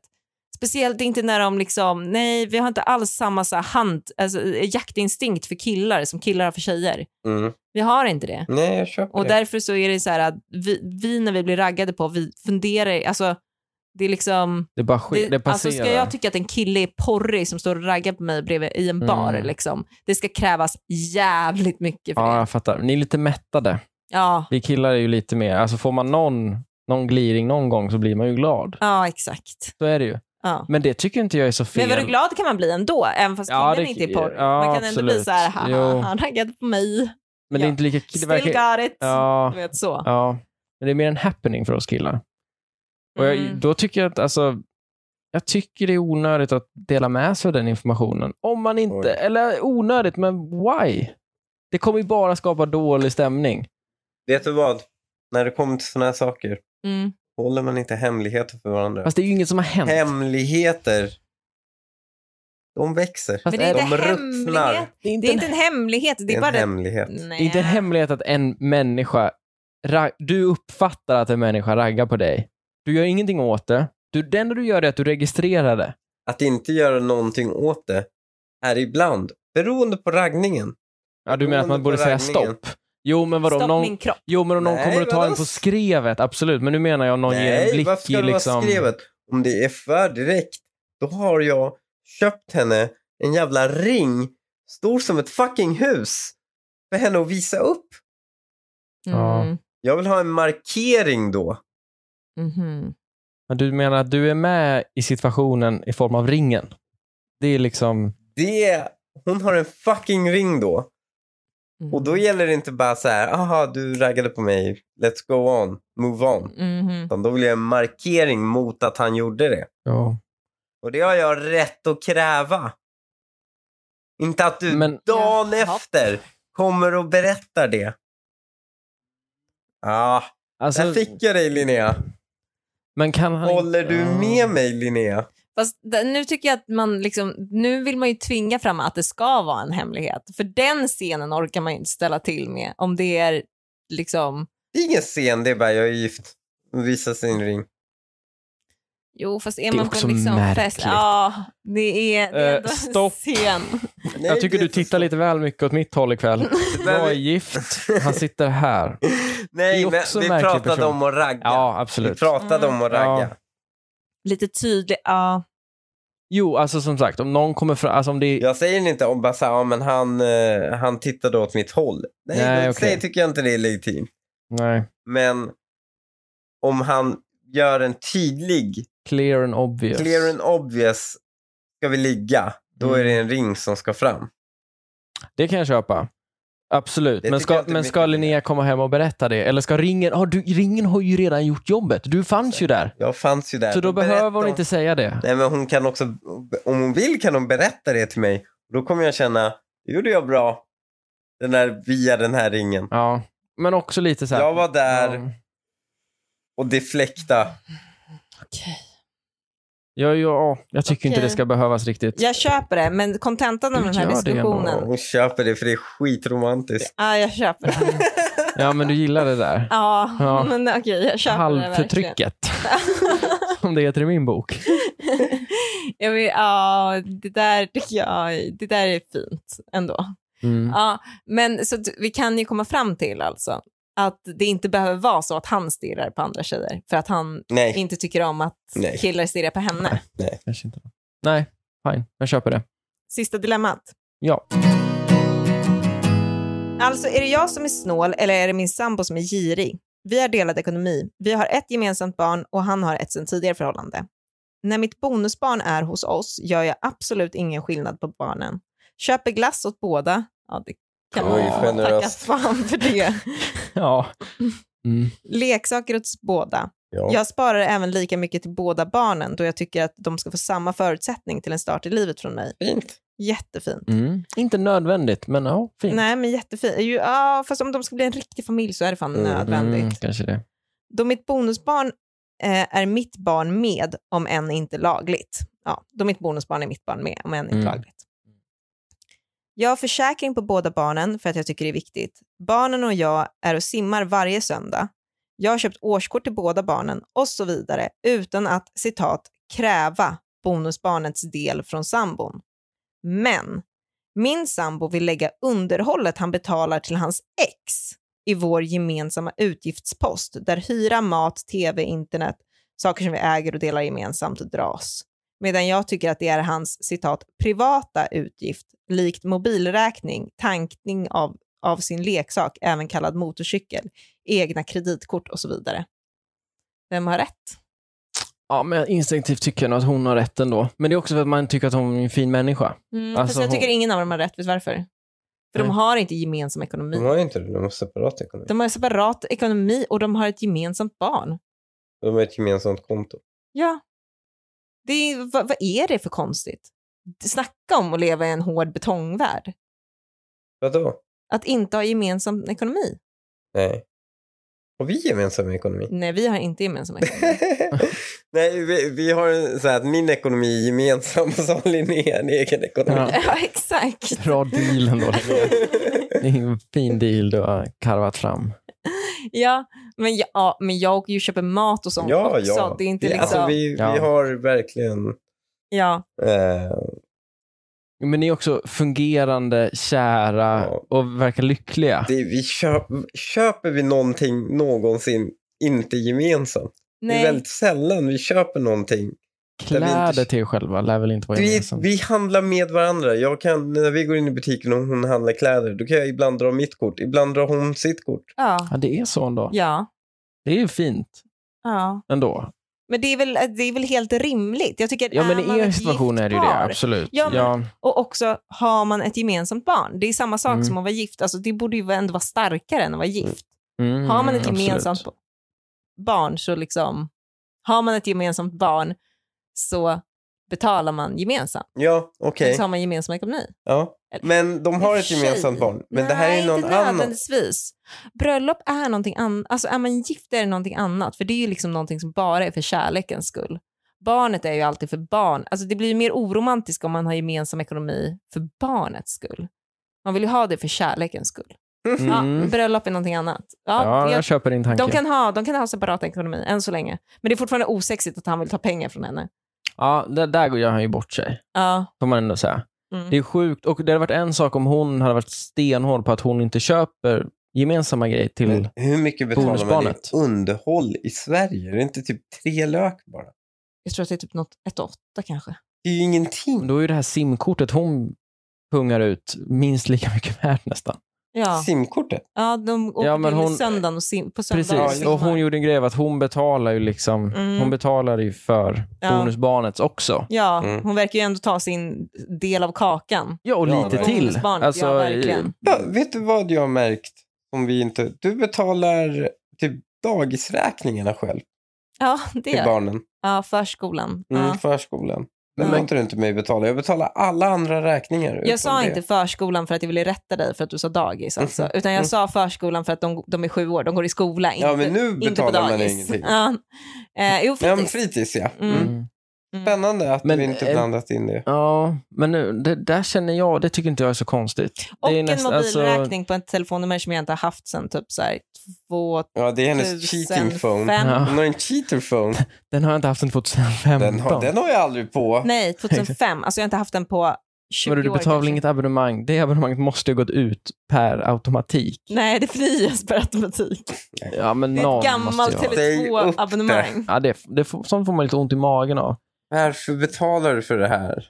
Speciellt inte när de liksom, nej, vi har inte alls samma så här hand, alltså, jaktinstinkt för killar som killar har för tjejer. Mm. Vi har inte det. Nej, jag köper Och det. därför så är det så här att vi, vi när vi blir raggade på, vi funderar, alltså det är liksom, Det bara sker, det, passerar. alltså ska jag tycka att en kille är porrig som står och raggar på mig bredvid i en bar Mm. liksom, det ska krävas jävligt mycket för ja, det. jag fattar. Ni är lite mättade. Ja, Vi killar är ju lite mer, alltså får man någon, någon gliring någon gång så blir man ju glad. ja exakt. Så är det ju. Ja. Men det tycker inte jag är så fel. Men var du glad kan man bli ändå, även fast Ja, killen det- inte är porrig. ja, man kan ändå bli absolut. så här, haha, Jo. han raggade på mig. Men det är Ja. inte lika... Det Still verkar, got it. ja, Du vet så. ja. Men det är mer en happening för oss killar. Och jag, Mm. Då tycker jag att, alltså, jag tycker det är onödigt att dela med sig av den informationen. Om man inte, Oj. eller onödigt, men why? Det kommer ju bara skapa dålig stämning. Vet du vad? När det kommer till såna här saker Mm. håller man inte hemligheter för varandra. Fast det är ju inget som har hänt. Hemligheter, de växer. Fast Men det är är inte det- de ruttnar. hemlighet. Det är Det är inte en hemlighet. Det Det är, är en bara det. hemlighet. Det är inte en hemlighet att en människa... ra- Du uppfattar att en människa raggar på dig. Du gör ingenting åt det. Du, det enda du gör är att du registrerar det. Att inte göra någonting åt det är ibland, beroende på raggningen. Ja, du menar att Beroende man borde på säga raggningen. stopp? Jo, men vadå? om Stopp Någon, min kropp. jo, men om någon Nej, kommer att ta vadå? en på skrevet, absolut. Men nu menar jag om någon ger en blick varför ska i det liksom... vara skrevet? Om det är för direkt, då har jag köpt henne en jävla ring stor som ett fucking hus för henne att visa upp. Ja. Mm. Jag vill ha en markering då. Mhm. Men du menar att du är med i situationen i form av ringen? Det är liksom... Det är, hon har en fucking ring då. Mm. Och då gäller det inte bara så här, aha du raggade på mig, let's go on, move on. Mhm. Utan då vill jag en markering mot att han gjorde det. Ja. Och det har jag rätt att kräva. Inte att du Men- dagen Ja. efter kommer och berättar det. Ja, Alltså, där fick jag dig Linnea. men kan han... Håller du Ja. med mig Linnea? Fast d- nu tycker jag att man liksom, nu vill man ju tvinga fram att det ska vara en hemlighet. För den scenen orkar man ju inte ställa till med om det är liksom, Det är ingen scen, det är bara jag är gift. Visa sin ring. jo fast är är man på också en liksom fest, märkligt. ja det är, det Eh, är ändå stopp. en scen. Nej, Jag tycker det är du så tittar svårt. lite väl mycket åt mitt håll ikväll. Jag är gift, han sitter här. Nej, Det är men också vi en märklig pratade person. om att ragga. Ja, vi absolut. pratade om att ragga. Ja. Lite tydlig, ja. Jo, alltså som sagt, om någon kommer fram... Alltså om det är... Jag säger inte om bara så här, ja, men han, eh, han tittade åt mitt håll. Nej, Nej, då okej. säger- tycker jag inte det är legitimt. Nej. Men om han gör en tydlig, Clear and obvious. clear and obvious, ska vi ligga, då Mm. är det en ring som ska fram. Det kan jag köpa. Absolut. Det Men tycker ska, jag inte men mycket ska mer. Linnea komma hem och berätta det? Eller ska ringen... Oh, du, ringen har ju redan gjort jobbet. Du fanns ju där. Jag fanns ju där. Så då berättar behöver hon inte säga det. Nej, men hon kan också, om hon vill kan hon berätta det till mig. Då kommer jag känna, det gjorde jag bra. Den här, via den här ringen. Ja. Men också lite så här... Jag var där Ja. och deflekta. Mm. Okej. Ja, ja, jag tycker inte Okej. det ska behövas riktigt. Jag köper det, men kontentan av Du den här gör det Och diskussionen, hon köper det för det är skitromantiskt. ja jag köper det. Ja, men du gillar det där. Ja, Ja. men okej jag köper det verkligen. Halvförtrycket. Som det heter i min bok. jag vill, ja, det där tycker jag, det där är fint ändå. Mm. Ja, men så att vi kan ju komma fram till alltså att det inte behöver vara så att han stirrar på andra tjejer för att han Nej, inte tycker om att Nej. killar stirrar på henne. Kanske inte. Nej, fine. Jag köper det. Sista dilemmat. Ja. Alltså, är det jag som är snål eller är det min sambo som är girig? Vi har delad ekonomi. Vi har ett gemensamt barn och han har ett sedan tidigare förhållande. När mitt bonusbarn är hos oss gör jag absolut ingen skillnad på barnen. Köper glass åt båda. Ja, det kan man Oj, ju tacka generöst. fan för det. Ja. Mm. Leksaker åt båda. ja. Jag sparar även lika mycket till båda barnen då jag tycker att de ska få samma förutsättning till en start i livet från mig. fint. Jättefint. Mm. Inte nödvändigt, men ja, fint. Nej, men jättefint. Ju, ja, fast om de ska bli en riktig familj så är det fan Mm. nödvändigt. Mm, kanske det. Då mitt bonusbarn eh, är mitt barn med, om än inte lagligt. Ja, då mitt bonusbarn är mitt barn med, om än inte Mm. lagligt. Jag har försäkring på båda barnen för att jag tycker det är viktigt. Barnen och jag är och simmar varje söndag. Jag har köpt årskort till båda barnen och så vidare utan att, citat, kräva bonusbarnets del från sambon. Men min sambo vill lägga underhållet han betalar till hans ex i vår gemensamma utgiftspost där hyra, mat, tv, internet, saker som vi äger och delar gemensamt dras. Medan jag tycker att det är hans citat privata utgift likt mobilräkning, tankning av, av sin leksak, även kallad motorcykel, egna kreditkort och så vidare. Vem har rätt? Ja, men instinktivt tycker jag nog att hon har rätt ändå. Men det är också för att man tycker att hon är en fin människa. Mm, Alltså, fast jag hon- tycker ingen av dem har rätt, vet du varför? För de Nej. Mm. har inte gemensam ekonomi. De har ju inte det, de har separat ekonomi. De har separat ekonomi och de har ett gemensamt barn. De har ett gemensamt konto. Ja. Det är, vad, vad är det för konstigt? Snacka om att leva i en hård betongvärld. Vadå? Att inte ha gemensam ekonomi. Nej. Har vi gemensam ekonomi? Nej, vi har inte gemensam ekonomi. Nej, vi, vi har en, så här, att min ekonomi är gemensam och så har Linnea en egen ekonomi. ja, exakt. Bra deal ändå. Det är en fin deal du har karvat fram. Ja, men, jag- ja, men jag åker ju och köper mat och sånt ja, också. ja. alltså, Det är inte Vi- liksom... alltså, vi, Ja. vi har verkligen... Ja, Eh, Men ni är också fungerande, kära Ja. och verkar lyckliga. Det, vi köp, köper vi någonting någonsin inte gemensamt? Det är Nej, väldigt sällan vi köper någonting. vi inte- Kläder till er själva lär väl inte vara Vi, gemensamt? vi handlar med varandra. Jag kan, när vi går in i butiken och hon handlar kläder, då kan jag ibland dra mitt kort, ibland drar hon sitt kort. ja. Ja, det är så ändå. ja. Det är ju fint ja. ändå. Men det är, väl, det är väl helt rimligt? Jag tycker, Ja, men är man i er ett situation gift är det ju det, par, absolut. Ja, men- ja. Och också, har man ett gemensamt barn? Det är samma sak Mm. som att vara gift. Alltså, det borde ju ändå vara starkare än att vara gift. Mm, har man ett absolut. gemensamt barn så liksom... Har man ett gemensamt barn så betalar man gemensamt. Ja, okej. Eller Så har man gemensam ekonomi. Ja. Eller- Men de har ett Tjej. gemensamt barn. Men det här är Nej, ju någon inte annan. nödvändigtvis. Bröllop är någonting annat. Alltså är man gift är det någonting annat. För det är ju liksom någonting som bara är för kärlekens skull. Barnet är ju alltid för barn. Alltså det blir ju mer oromantiskt om man har gemensam ekonomi för barnets skull. Man vill ju ha det för kärlekens skull. Ja, Mm. men bröllop är någonting annat. Ja, Ja, jag- jag köper din tanke. de, kan ha, de kan ha separat ekonomi än så länge. Men det är fortfarande osexigt att han vill ta pengar från henne. Ja, där, där går han ju bort sig, Ja, får man ändå säga. mm. Det är sjukt. Och det hade varit en sak om hon hade varit stenhård på att hon inte köper gemensamma grejer till... Men Hur mycket betalar man i Bonusbarnet. underhåll i Sverige? Är det inte typ tre lök bara? Jag tror att det är typ något, ett och åtta kanske. Det är ju ingenting. Då är ju det här simkortet hon pungar ut minst lika mycket värt nästan. Ja, Simkortet. ja de åker Ja, men till hon- söndagen och sim, på söndagen. och Precis. simmar. Och hon gjorde en grej av att hon betalar ju liksom... Mm. Hon betalar ju för Ja. bonusbarnets också. Ja, Mm. hon verkar ju ändo ta sin del av kakan. Ja, och Ja, lite verkligen. till. Bonusbarnet, Alltså, ja, verkligen. Ja, vet du vad jag har märkt? Om vi inte... Du betalar typ dagisräkningarna själv Ja, det till gör barnen. Ja, förskolan. Mm, Ja. Förskolan. Den Ja. låter du inte mig betala. Jag betalar alla andra räkningar. utom Jag sa det. inte förskolan för att jag ville rätta dig för att du sa dagis. Alltså. Mhm. Utan jag Mm. sa förskolan för att de, de är sju år, de går i skola, inte, Ja, men nu inte på betalar man dagis. ingenting. Ja. Eh, jo, Ja, men fritids. fritids ja. Mm. Mm. Spännande att Men, vi inte eh, blandat in det. Ja, men nu, det där känner jag, det tycker inte jag är så konstigt. Och det är alltså, en nästan- mobilräkning på ett telefonnummer som jag inte har haft sedan typ så här, två, Ja, det är hennes cheating phone. 2005. Ja. Hon har en cheater phone. Den har jag inte haft sedan 2015. Den har, den har jag aldrig på. Nej, 2005. Alltså jag har inte haft den på 20 men du, du år. betalar väl Typ kanske. inget abonnemang? Det abonnemanget måste ju ha gått ut per automatik. Nej, det förnyas per automatik. Ja, men Det är någon ett gammalt måste ju ha. Säg upp det. Tele2-abonnemang. Ja, det, det, får- sånt får man lite ont i magen av. Varför betalar du för det här?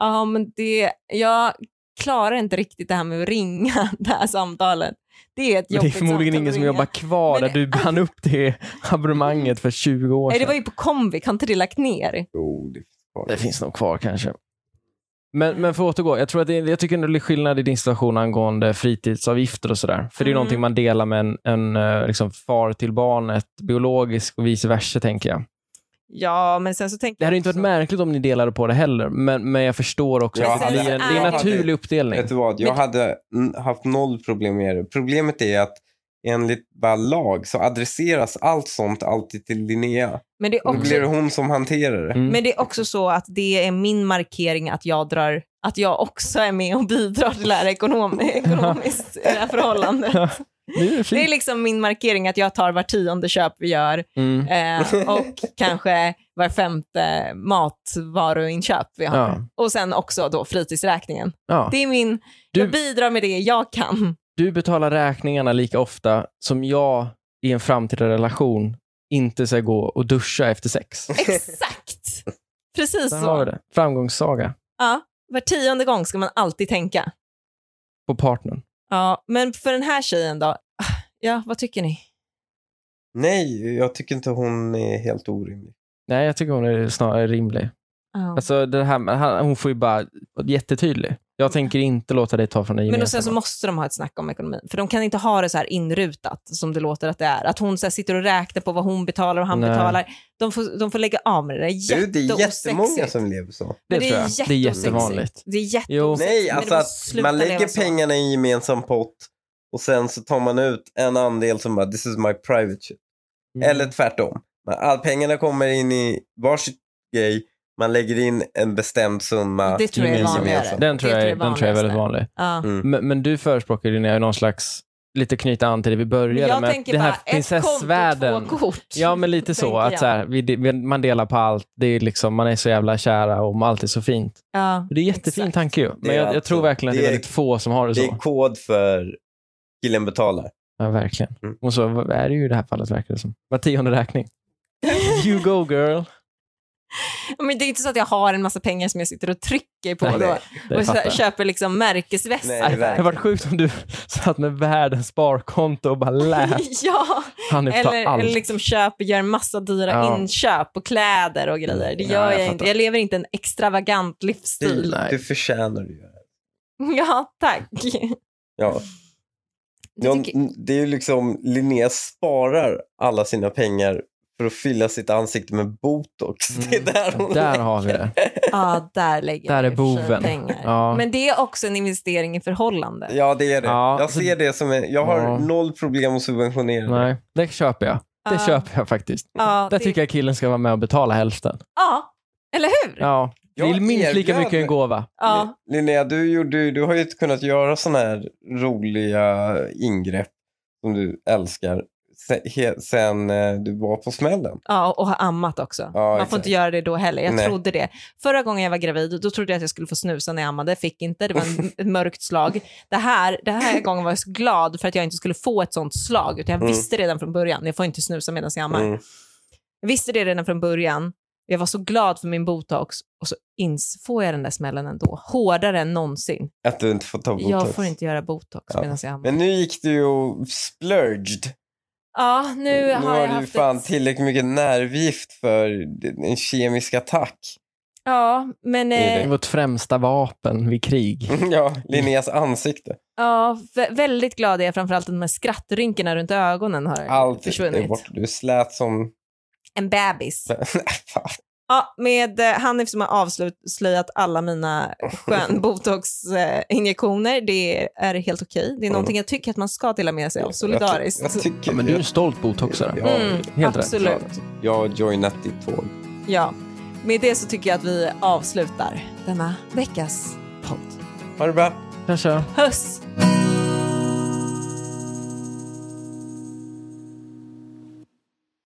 Ja, men det, jag klarar inte riktigt det här med att ringa det här samtalet. Det är ett Men det är jobbigt förmodligen samtal ingen att som ringa. jobbar kvar Men där du band upp det abonnemanget för 20 år Nej, det sedan. var ju på Comviq, har inte det lagt ner? Jo, Oh, det Det finns finns nog kvar kanske. Men, men för att återgå, jag, tror att det, jag tycker ändå det är skillnad i din situation angående fritidsavgifter och sådär. För det är Mm. någonting man delar med en, en eh, liksom far till barnet, biologisk och vice versa tänker jag. Ja, men sen så tänkte Det hade inte varit märkligt om ni delade på det heller, men, men jag förstår också Ja, att det hade- blir en, det är en hade- naturlig uppdelning. Vet du vad, jag Men- hade mm, haft noll problem med det. Problemet är att enligt bara lag så adresseras allt sånt alltid till Linnea. Men det, är Och då också, blir det hon som hanterar det. Mm. men det är också så att det är min markering att jag drar att jag också är med och bidrar till det här ekonom, ekonomiskt i det här förhållandet. Nu är det Det är fint. liksom min markering att jag tar var tionde köp vi gör Mm. eh, och kanske var femte matvaruinköp vi har. Ja. Och sen också då fritidsräkningen. Ja. Det är min, jag Du, bidrar med det jag kan. du betalar räkningarna lika ofta som jag i en framtida relation inte ska gå och duscha efter sex. Exakt! Precis Där har vi så. det. Framgångssaga Ja, var tionde gång ska man alltid tänka. på partnern. Ja, men för den här tjejen då? Ah, Ja, vad tycker ni? Nej, jag tycker inte hon är helt orimlig. Nej, jag tycker hon är snarare rimlig. Ja. Alltså, det här, med- han- hon får ju bara jättetydlig. Jag tänker inte låta dig ta från dig Men och sen så gemensamma. måste de ha ett snack om ekonomin. För de kan inte ha det så här inrutat som det låter att det är. Att hon så här sitter och räknar på vad hon betalar och han Nej. betalar. De får, de får lägga av med det. Det är Du, det är jättemånga jätteosexigt. som lever så. Men Det tror jag. Det är jätteosexigt. jättevanligt. Det är jätte... Jo. Nej, Men alltså det att måste sluta man leva lägger så. pengarna i en gemensam pott och sen så tar man ut en andel som bara this is my private shit. Mm. Eller tvärtom. Man- All pengarna kommer in i varsitt grej. Man lägger in en bestämd summa. Det tror jag är Gemensamt. vanligare. Den tror, Det jag, är- den tror jag är väldigt vanligaste. vanlig. Ja. Mm. Men, men du förespråkar ju Linnea någon slags lite knyta an till det vi började jag med. tänker det här bara, ett konto, prinsessvärlden. två kort. Ja, men lite så. tänker Att jag. så här, vi, vi- man delar på allt. Det är liksom, man är så jävla kära och allt är så fint. Ja. Det är en jättefin Exakt. tanke ju. är Men jag, jag alltså- tror verkligen att det det är är- väldigt få som har det Det är så. kod för killen betalar. Ja, verkligen. Mm. Och så är det ju i det här fallet, verkar det som. Var tionde räkning. You go girl. Men det är inte så att jag har en massa pengar som jag sitter och trycker på Nej, då. Det och så fattar jag. köper liksom märkesväskor. Nej, Det hade varit sjukt om du satt med världens sparkonto och bara lät ja, Hanif ta eller, allt. eller liksom köper, gör en massa dyra Ja. inköp och kläder och grejer. Det Ja, gör jag jag, fattar. inte. Jag lever inte en extravagant livsstil. Nej. Du förtjänar det ju. Ja, tack. Ja. Du Ja, tycker, n- det är ju liksom, Linnea sparar alla sina pengar för att fylla sitt ansikte med botox. Det är där liksom- hon Mm. Där har vi det. ja, där lägger Där jag är i och för sig boven. pengar. Ja. Men det är också en investering i förhållande. Ja, det är det. Ja, jag så- ser det som en, Jag har Ja. noll problem att subventionera det. Nej, det köper jag. Det Ja, köper jag faktiskt. ja, Där det- tycker jag killen ska vara med och betala hälften. Ja, eller hur? Ja, det är Jag minst lika erbjöd mycket en mig. gåva. Ja. Lin- Linnea, du, gjorde, du har ju kunnat göra sådana här roliga ingrepp som du älskar se- he- sen eh, du var på smällen. Ja, och ha ammat också. Ja, Man får exakt. inte göra det då heller. Jag Nej. trodde det. Förra gången jag var gravid, då trodde jag att jag skulle få snusa när jag ammade. Fick inte, det var en, ett mörkt slag. Det här, det här gången var jag så glad för att jag inte skulle få ett sånt slag. Utan jag Mm. visste redan från början, jag får inte snusa medan jag ammar. Mm. Jag visste det redan från början. Jag var så glad för min botox och så ins får jag den där smällen ändå. Hårdare än någonsin. Att du inte får ta botox. Jag får inte göra botox Ja. medan jag ammar. Men nu gick du ju splurged. ja, nu, Nu har jag du ju haft fan ett... tillräckligt mycket nervgift för en kemisk attack. Ja, men... är Eh, Det är vårt främsta vapen vid krig. ja, Linneas ansikte. Ja, vä- väldigt glad är jag framförallt att de här skrattrynkorna runt ögonen har Allt är försvunnit. borta. Du är slät som... En bebis. Fan. Ja, med eh, Hanif som har avslöjat alla mina skön botox-injektioner. Det är helt okej. Det är någonting jag tycker att man ska dela med sig av solidariskt. Jag, ty- jag tycker Ja, men du är en det. stolt botoxare. Ja. Mm, Helt rätt. absolut. Jag har joinat ditt tåg. Ja. Med det så tycker jag att vi avslutar denna veckas podd. Ha det bra. Kanske. Puss!